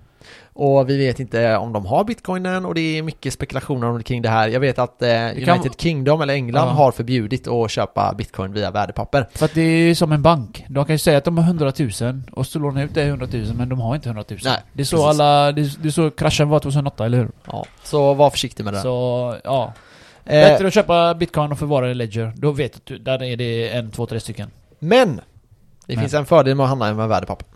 B: Och vi vet inte om de har bitcoinen och det är mycket spekulationer om- kring det här. Jag vet att eh, United
A: kan-
B: Kingdom eller England
A: Ja.
B: har förbjudit att köpa bitcoin via värdepapper.
A: För att det är ju som en bank. De kan ju säga att de har 100 000 och så lånar ut det 100 000 men de har inte 100 000.
B: Nej,
A: det är så
B: precis.
A: alla... Det är, det är så kraschen var 2008, eller hur?
B: Ja, så var försiktig med det.
A: Så, ja.
B: Eh,
A: Bättre att köpa bitcoin och förvara det i ledger. Då vet du, där är det en, två, tre stycken.
B: Men! Det
A: Men.
B: finns en fördel med att handla med värdepapper.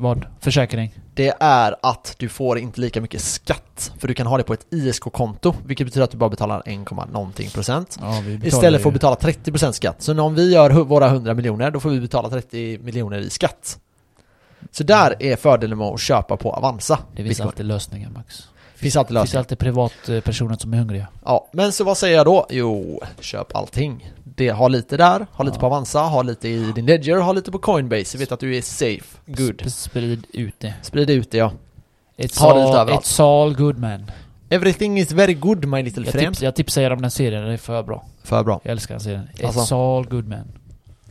A: Vad? Försäkring.
B: det är att du får inte lika mycket skatt. För du kan ha det på ett ISK-konto, vilket betyder att du bara betalar 1, någonting procent.
C: Ja, vi betalar
B: Istället för att
C: ju-
B: betala 30% skatt. Så om vi gör hu- våra 100 miljoner, då får vi betala 30 miljoner i skatt. Så där är fördelen med att köpa på Avanza.
A: Det finns alltid lösningar Max.
B: finns alltid
A: Det finns
B: lösningar.
A: alltid privatpersoner som är hungriga.
B: Ja, men så vad säger jag då? Jo, köp allting. Det, ha lite där, ha lite
A: Ja.
B: på Avanza, ha lite i din Ledger, ha lite på Coinbase. Så vet att du är safe. Good.
A: Sp- Sprid ut det.
B: Sprid ut det ja.
A: It's
B: Ha det lite
A: all,
B: överallt.
A: it's all good man.
B: Everything is very good my little
A: Jag,
B: friend.
A: tips, jag tipsar er om den serien, den är för bra.
B: För bra.
A: Jag älskar den serien. It's
B: Alltså.
A: all good man.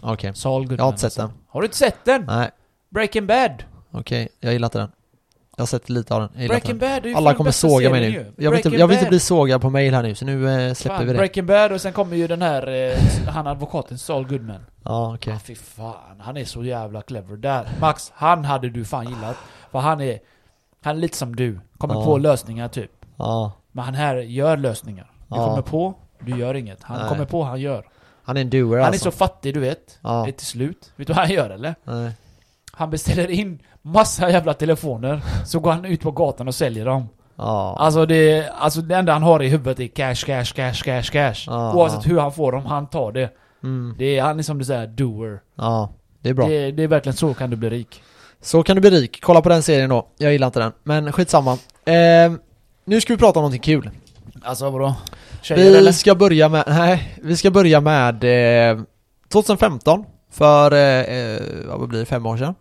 B: Okej.
A: It's all good
B: Jag har
A: man. alltså.
B: inte sett den.
A: Har du inte sett den?
B: Nej,
A: Breaking Bad!
B: okej. Jag gillar inte den. Jag har sett lite av den. Jag gillar inte
A: Breaking
B: den.
A: Bad är ju fan
B: Alla kommer
A: bästa
B: såga mig
A: serien
B: nu.
A: ju.
B: Jag vill, inte,
A: Breaking
B: jag vill inte
A: Bad.
B: bli sågad på mail här nu, så nu eh, släpper
A: Fan,
B: vi det.
A: Breaking Bad och sen kommer ju den här, eh, han advokaten Saul Goodman.
B: Ja, okej.
A: Ah, fy fan, han är så jävla clever där. Max, han hade du fan gillat. För han är, han är lite som du. Kommer
B: Ja.
A: på lösningar typ.
B: Ja.
A: Men han här gör lösningar. Du
B: Ja.
A: kommer på, du gör inget. Han
B: Nej.
A: kommer på, han gör.
B: Han är en doer
A: Han är
B: alltså.
A: så fattig du vet.
B: Ja.
A: Det är till slut. Vet du vad han gör eller?
B: Nej.
A: Han beställer in massa jävla telefoner. Så går han ut på gatan och säljer dem.
B: Ja.
A: Alltså det, alltså det enda han har i huvudet är cash, cash, cash, cash, cash.
B: Ja.
A: Oavsett hur han får dem, han tar det.
B: Mm.
A: det är, han är som du säger, doer.
B: Ja. Det är bra.
A: Det, det är verkligen så kan du bli rik.
B: Så kan du bli rik. Kolla på den serien då. Jag gillar inte den. Men skitsamma. Eh, nu ska vi prata om någonting kul.
A: Alltså vadå? Tjejer
B: Vi
A: eller?
B: ska börja med, nej, vi ska börja med eh, 2015. För, eh, eh, ja, vad blir det, fem år sedan.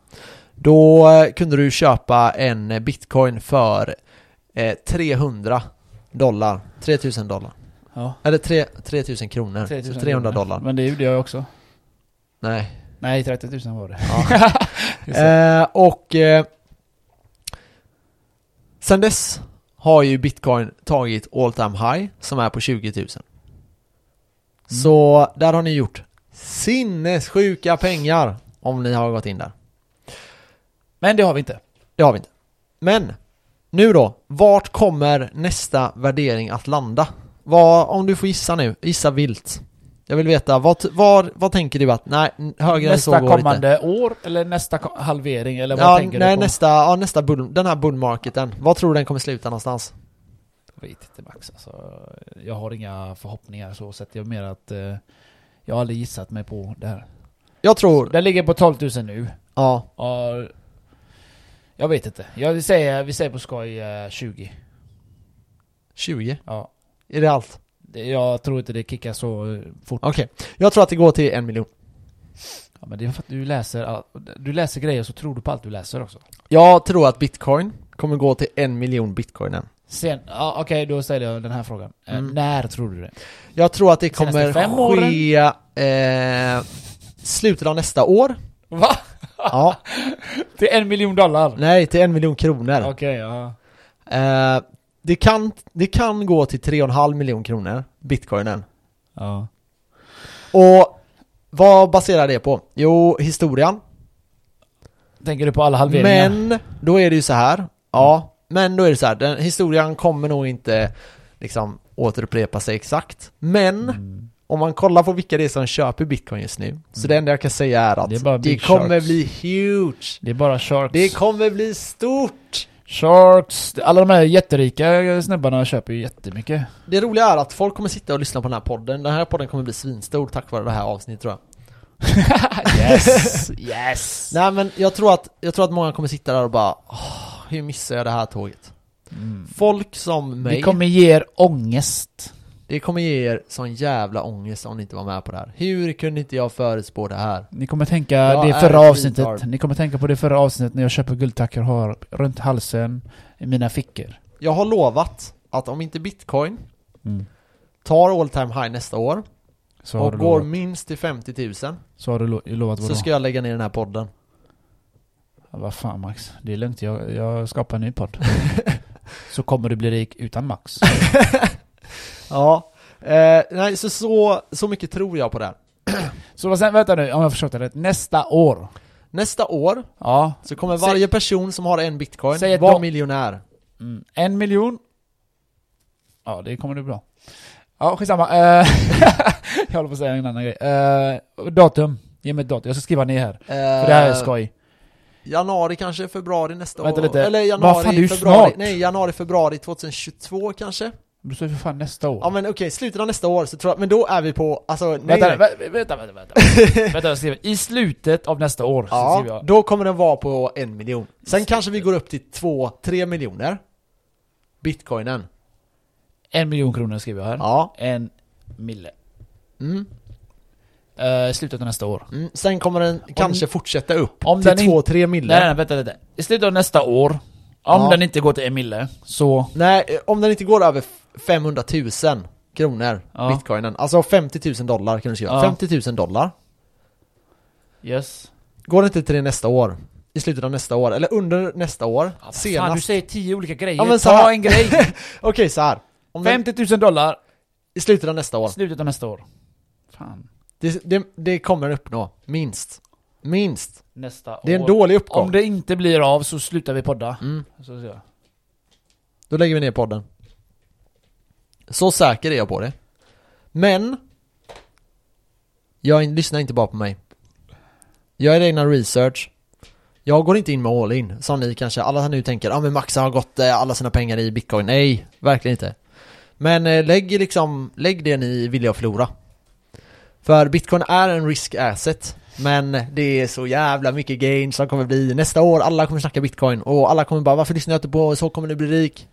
B: Då eh, kunde du köpa en eh, bitcoin för eh, 300 dollar. 3000 dollar.
C: Ja.
B: Eller tre- 3000 kronor.
A: 3000
B: så 300
A: kronor.
B: dollar.
C: Men det gjorde jag också.
B: Nej.
C: Nej, 30 000 var det. Just
B: Eh, och eh, sen dess har ju bitcoin tagit all time high som är på 20 000.
A: Mm.
B: Så där har ni gjort sinnessjuka pengar om ni har gått in där.
A: Men det har vi inte.
B: Det har vi inte. Men nu då, vart kommer nästa värdering att landa? Vad, om du får gissa nu, gissa vilt. Jag vill veta, vad, vad, vad tänker du att, nej, högre än så
A: Nästa
B: går det inte.
A: kommande år eller nästa ko- halvering eller vad
B: ja,
A: tänker
B: nej,
A: du på?
B: nästa, ja, nästa bull, den här bullmarketen. Vad tror du den kommer sluta någonstans?
A: Jag vet inte E Max alltså, Jag har inga förhoppningar så sett. Jag menar att eh, jag har aldrig gissat mig på det här.
B: Jag tror,
A: Den ligger på 12 000 nu.
B: ja,
A: Ja, jag vet inte. Jag säger, vi säger på skoj eh, 20.
B: 20.
A: Ja.
B: Är det allt?
A: Det- Jag tror inte det kickar så eh, fort.
B: Okej. Jag tror att det går till en miljon.
A: Ja, men det är för att du läser, all- du läser grejer så tror du på allt du läser också.
B: Jag tror att bitcoin kommer gå till en miljon bitcoinen.
A: Sen, ja, okej då ställer jag den här frågan. Eh,
B: Mm.
A: När tror du det?
B: Jag tror att det
A: Senaste
B: kommer
A: fem åren?
B: ske eh, slutet av nästa år.
A: Va?
B: Ja,
A: Till en miljon dollar?
B: nej, till en miljon kronor.
A: Okej, ja.
B: Eh, det, kan, det kan gå till 3,5 miljon kronor, bitcoinen.
A: ja.
B: Och vad baserar det på? Jo, historien.
A: Tänker du på alla halveringar?
B: Men då är det ju så här. Ja,
A: Mm.
B: men då är det så här. Den, historien kommer nog inte liksom återupprepa sig exakt. Men
A: Mm.
B: om man kollar på vilka det är som köper bitcoin just nu. Så det enda jag kan säga är att
A: Det är
B: det,
A: bara big
B: kommer
A: sharks.
B: bli huge.
A: Det är bara sharks.
B: Det kommer bli stort.
A: sharks. Alla de här jätterika snubbarna köper ju jättemycket.
B: Det roliga är att folk kommer sitta och lyssna på den här podden. Den här podden kommer bli svinstor tack vare det här avsnittet tror jag.
A: yes! yes!
B: Nej men jag tror att, jag tror att många kommer sitta där och bara "Åh, hur missar jag det här tåget?
A: Mm.
B: Folk som mig.
A: Det kommer ge er ångest.
B: Det kommer ge er sån jävla ångest om ni inte var med på det här. Hur kunde inte jag förutspå det här?
A: Ni kommer tänka
B: Jag
A: det
B: är
A: förra avsnittet.
B: retard.
A: Ni kommer tänka på det förra avsnittet när jag köper guldtackor och har runt halsen i mina fickor.
B: Jag har lovat att om inte bitcoin
A: Mm.
B: tar all time high nästa år
A: Så, har
B: och
A: du
B: går
A: lovat,
B: minst till 50 000
A: så har du lo- lovat vadå?
B: så ska jag lägga ner den här podden.
A: Ja, Vad fan Max, det är lugnt. Jag, jag skapar en ny podd. så kommer du bli rik utan Max.
B: Ja, eh, nej så, så, så mycket tror jag på det här.
A: Så vad sen, vänta nu, om jag förstått det rätt. Nästa år.
B: Nästa år
A: Ja.
B: så kommer varje person som har en
A: Säg
B: bitcoin
A: ett
B: vara
A: dom-
B: miljonär.
A: Mm. En miljon. Ja, det kommer det bli bra. Ja, skitsamma. Eh, jag håller på att säga Eh, en annan grej. Eh, datum. Ge mig ett datum. Jag ska skriva ner här. För det här är skoj.
B: Januari kanske, februari nästa
A: Vänta
B: år.
A: lite.
B: Eller
A: Vad
B: januari,
A: fan, det är ju
B: februari.
A: snart.
B: Nej, januari, februari 2022 kanske?
A: Du sa ju för fan nästa år.
B: Ja men okej, slutet av nästa år så tror jag, men då är vi på, alltså nej,
A: vänta,
B: nej.
A: vä- vänta, vänta, vänta. vänta, jag skriver. I slutet av nästa år. Så skriver
B: Ja,
A: jag.
B: då kommer den vara på en miljon. Sen kanske vi går upp till två, tre miljoner. Bitcoinen.
A: En miljon kronor skriver jag här.
B: Ja.
A: En mille.
B: Mm.
A: Eh, I slutet av nästa år.
B: Mm. Sen kommer den kanske fortsätta upp
A: om
B: till
A: den in-
B: två, tre miljoner.
A: Nej, nej, vänta lite. I slutet av nästa år, om
B: Ja.
A: den inte går till en mille, så...
B: Nej, eh, om den inte går över f- 500 000 kronor,
A: Ja.
B: bitcoinen. Alltså 50 000 dollar kan du skriva.
A: Ja.
B: 50 000 dollar.
A: Yes.
B: Går det inte till det nästa år, i slutet av nästa år, eller under nästa år,
A: Ja, vad
B: senast.
A: Fan, du säger tio olika grejer.
B: Ja, men så
A: Ta
B: här-
A: en grej.
B: Okej, så här. Om den,
A: 50 000 dollar,
B: I slutet av nästa år.
A: slutet av nästa år. Fan.
B: Det, det, det kommer den uppnå, minst. Minst.
A: Nästa
B: Det är en
A: år.
B: dålig uppgång.
A: Om det inte blir av så slutar vi podda.
B: Mm.
A: Så ser jag.
B: Då lägger vi ner podden. Så säker är jag på det. Men, jag in- lyssnar inte bara på mig. Jag gör egna research. Jag går inte in med all in, som ni kanske, alla nu tänker, ja ah, men Maxa har gått eh, alla sina pengar i bitcoin. Nej, verkligen inte. Men eh, lägg liksom, lägg det ni vill att förlora. För bitcoin är en risk asset, men det är så jävla mycket gain som kommer bli nästa år. Alla kommer snacka bitcoin och alla kommer bara, varför lyssnar jag inte på, så kommer du bli rik.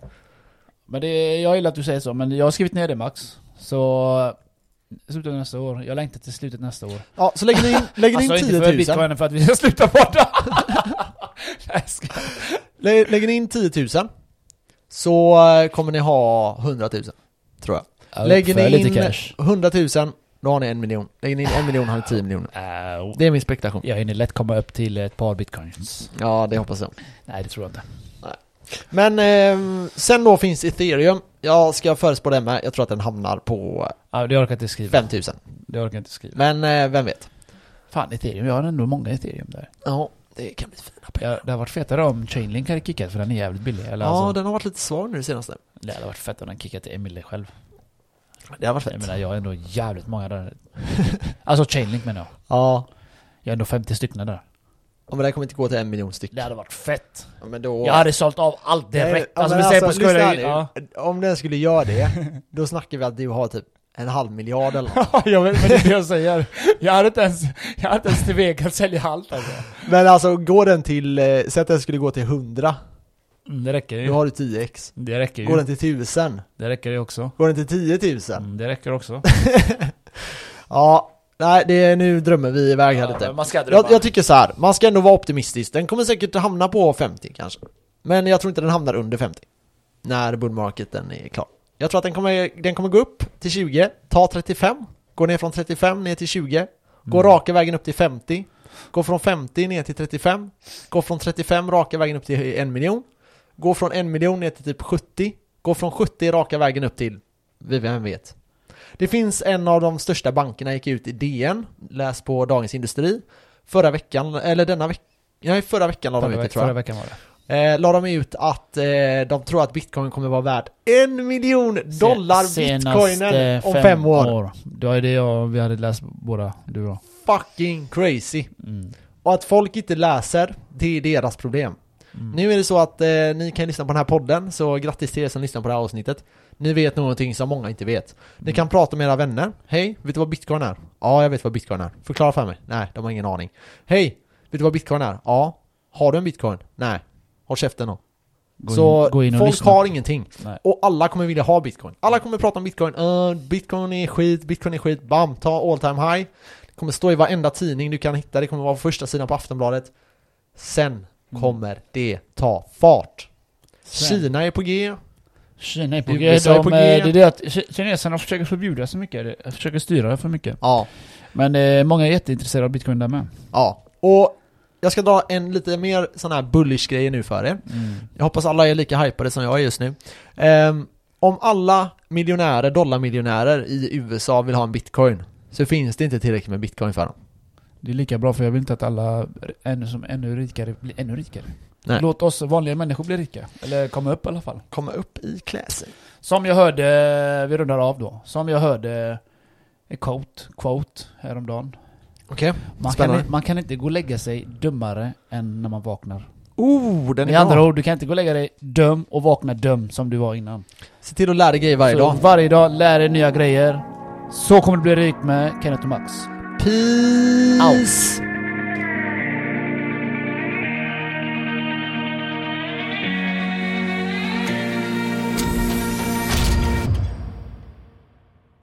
A: Men det, jag gillar att du säger så, men jag har skrivit ner det Max. Så... Slutet av nästa år. Jag längtar till slutet nästa år.
B: Ja, så lägger ni in, lägger ni in
A: alltså inte för
B: 10 000
A: bitcoinen för att vi ska sluta podda. Nej, jag skojar.
B: Lä- Lägger ni in 10 000 Så eh, kommer ni ha 100 000 Tror jag Lägger
A: För
B: ni
A: lite
B: in
A: cash.
B: 100 000 Då har ni en miljon Lägger ni in en miljon har ni 10 miljoner
A: Au.
B: Det är min spektation
A: Äh, Jag hinner lätt komma upp till ett par bitcoins.
B: Ja, det hoppas jag
A: Nej, det tror jag inte.
B: Men eh, sen då finns ethereum Jag ska förespå det med Jag tror att den hamnar på
A: Ja, det orkar jag inte skriva.
B: 5 000
A: Det orkar jag inte skriva.
B: Men eh, vem vet
A: Fan, ethereum. Jag har ändå många ethereum där.
B: Ja, det kan bli fina pengar
A: Ja, det hade varit fetare om Chainlink hade kickat för den är jävligt billig. Eller
B: Ja,
A: alltså,
B: den har varit lite svag nu det senaste
A: det... hade varit fett om den kickat till Emily själv.
B: Det har varit
A: Jag
B: fett
A: menar, jag har ändå jävligt många där. alltså Chainlink menar jag.
B: Ja,
A: Jag har ändå 50 stycken där.
B: Ja, men det här kommer inte gå till en miljon styck
A: Det hade varit fett.
B: Ja, men då...
A: Jag hade sålt av allt direkt.
B: Nej,
A: alltså
B: men
A: vi säger på
B: alltså, lyssna här
A: skoj.
B: nu.
A: Ja.
B: Om den skulle göra det, då snackar vi att du har typ en halv miljard eller något.
A: jag vet, men det är det jag säger. Jag hade inte ens, jag hade inte ens till väg att sälja allt alltså.
B: Men alltså går den till, eh, säg att den skulle gå till 100,
A: Mm, det räcker ju.
B: då har du 10x.
A: Det räcker
B: Går
A: ju.
B: den till 1000,
A: Det räcker ju också.
B: går den till 10 000?
A: Mm, det räcker också.
B: Ja, nej det är nu drömmer vi iväg här
A: Ja, men
B: lite.
A: man ska drömma.
B: Jag, jag tycker så här, man ska ändå vara optimistisk. Den kommer säkert hamna på 50 kanske. Men jag tror inte den hamnar under 50. När bullmarketen är klar. Jag tror att den kommer, den kommer gå upp till 20, ta 35, gå ner från 35 ner till 20, gå
A: Mm.
B: raka vägen upp till 50, gå från 50 ner till 35, gå från 35 raka vägen upp till en miljon, gå från en miljon ner till typ 70, gå från 70 raka vägen upp till, vi- vem vet. Det finns en av de största bankerna gick ut i DN, läs på Dagens Industri, förra veckan, eller denna vecka, ja, i förra veckan la de
A: Förra,
B: ut det
A: veck,
B: tror jag.
A: förra veckan var det.
B: Eh, la de ut att eh, de tror att bitcoin kommer vara värd en miljon dollar bitcoinen om fem år.
A: Det var ju det jag, vi hade läst båda, du och
B: Fucking crazy.
A: mm.
B: Och att folk inte läser, det är deras problem.
A: Mm.
B: Nu är det så att eh, ni kan lyssna på den här podden, så grattis till er som lyssnar på det här avsnittet. Ni vet någonting som många inte vet. Ni kan prata med era vänner. Hej, vet du vad bitcoin är? Ja, jag vet vad bitcoin är. Förklara för mig. Nej, de har ingen aning. Hej, vet du vad bitcoin är? Ja. Har du en bitcoin? Nej. Håll käften då.
A: Gå
B: så
A: in- gå in och
B: folk
A: lyssna.
B: har ingenting.
A: Nej.
B: Och alla kommer vilja ha bitcoin. Alla kommer prata om bitcoin. Eh, bitcoin är skit, bitcoin är skit. Bam, ta all time high. Det kommer stå i varenda tidning du kan hitta. Det kommer vara på första sidan på Aftonbladet. Sen
A: Mm.
B: kommer det ta fart.
A: Sen.
B: Kina är på G.
A: Kina är på
B: Det-
A: G.
B: USA är
A: De,
B: på
A: eh,
B: G.
A: det är det att ki- kineserna försöker förbjuda så mycket, de försöker styra det för mycket.
B: Ja.
A: Men eh, många är jätteintresserade av bitcoin där med.
B: ja. Och jag ska dra en lite mer sån här bullish grej nu för er. Jag hoppas alla är lika hypade som jag är just nu. Ehm, om alla miljonärer, dollarmiljonärer i USA vill ha en bitcoin så finns det inte tillräckligt med bitcoin för dem.
A: Det är lika bra för jag vill inte att alla ännu som ännu rikare blir ännu rikare.
B: Nej.
A: Låt oss vanliga människor bli rika. Eller komma upp i alla fall.
B: Komma upp i kläsen.
A: Som jag hörde, vi rundar av då. Som jag hörde en quote, quote eh, häromdagen.
B: Okej,
A: Man
B: spännande.
A: kan, man kan inte gå och lägga sig dummare än när man vaknar.
B: Oh, den
A: Med
B: är
A: andra
B: bra!
A: ord, du kan inte gå och lägga dig döm och vakna döm som du var innan.
B: Se till att lära dig grejer varje
A: Så
B: dag.
A: varje dag, lär dig nya grejer. Så kommer du bli rik med Kenneth och Max.
B: Peace!
A: Out.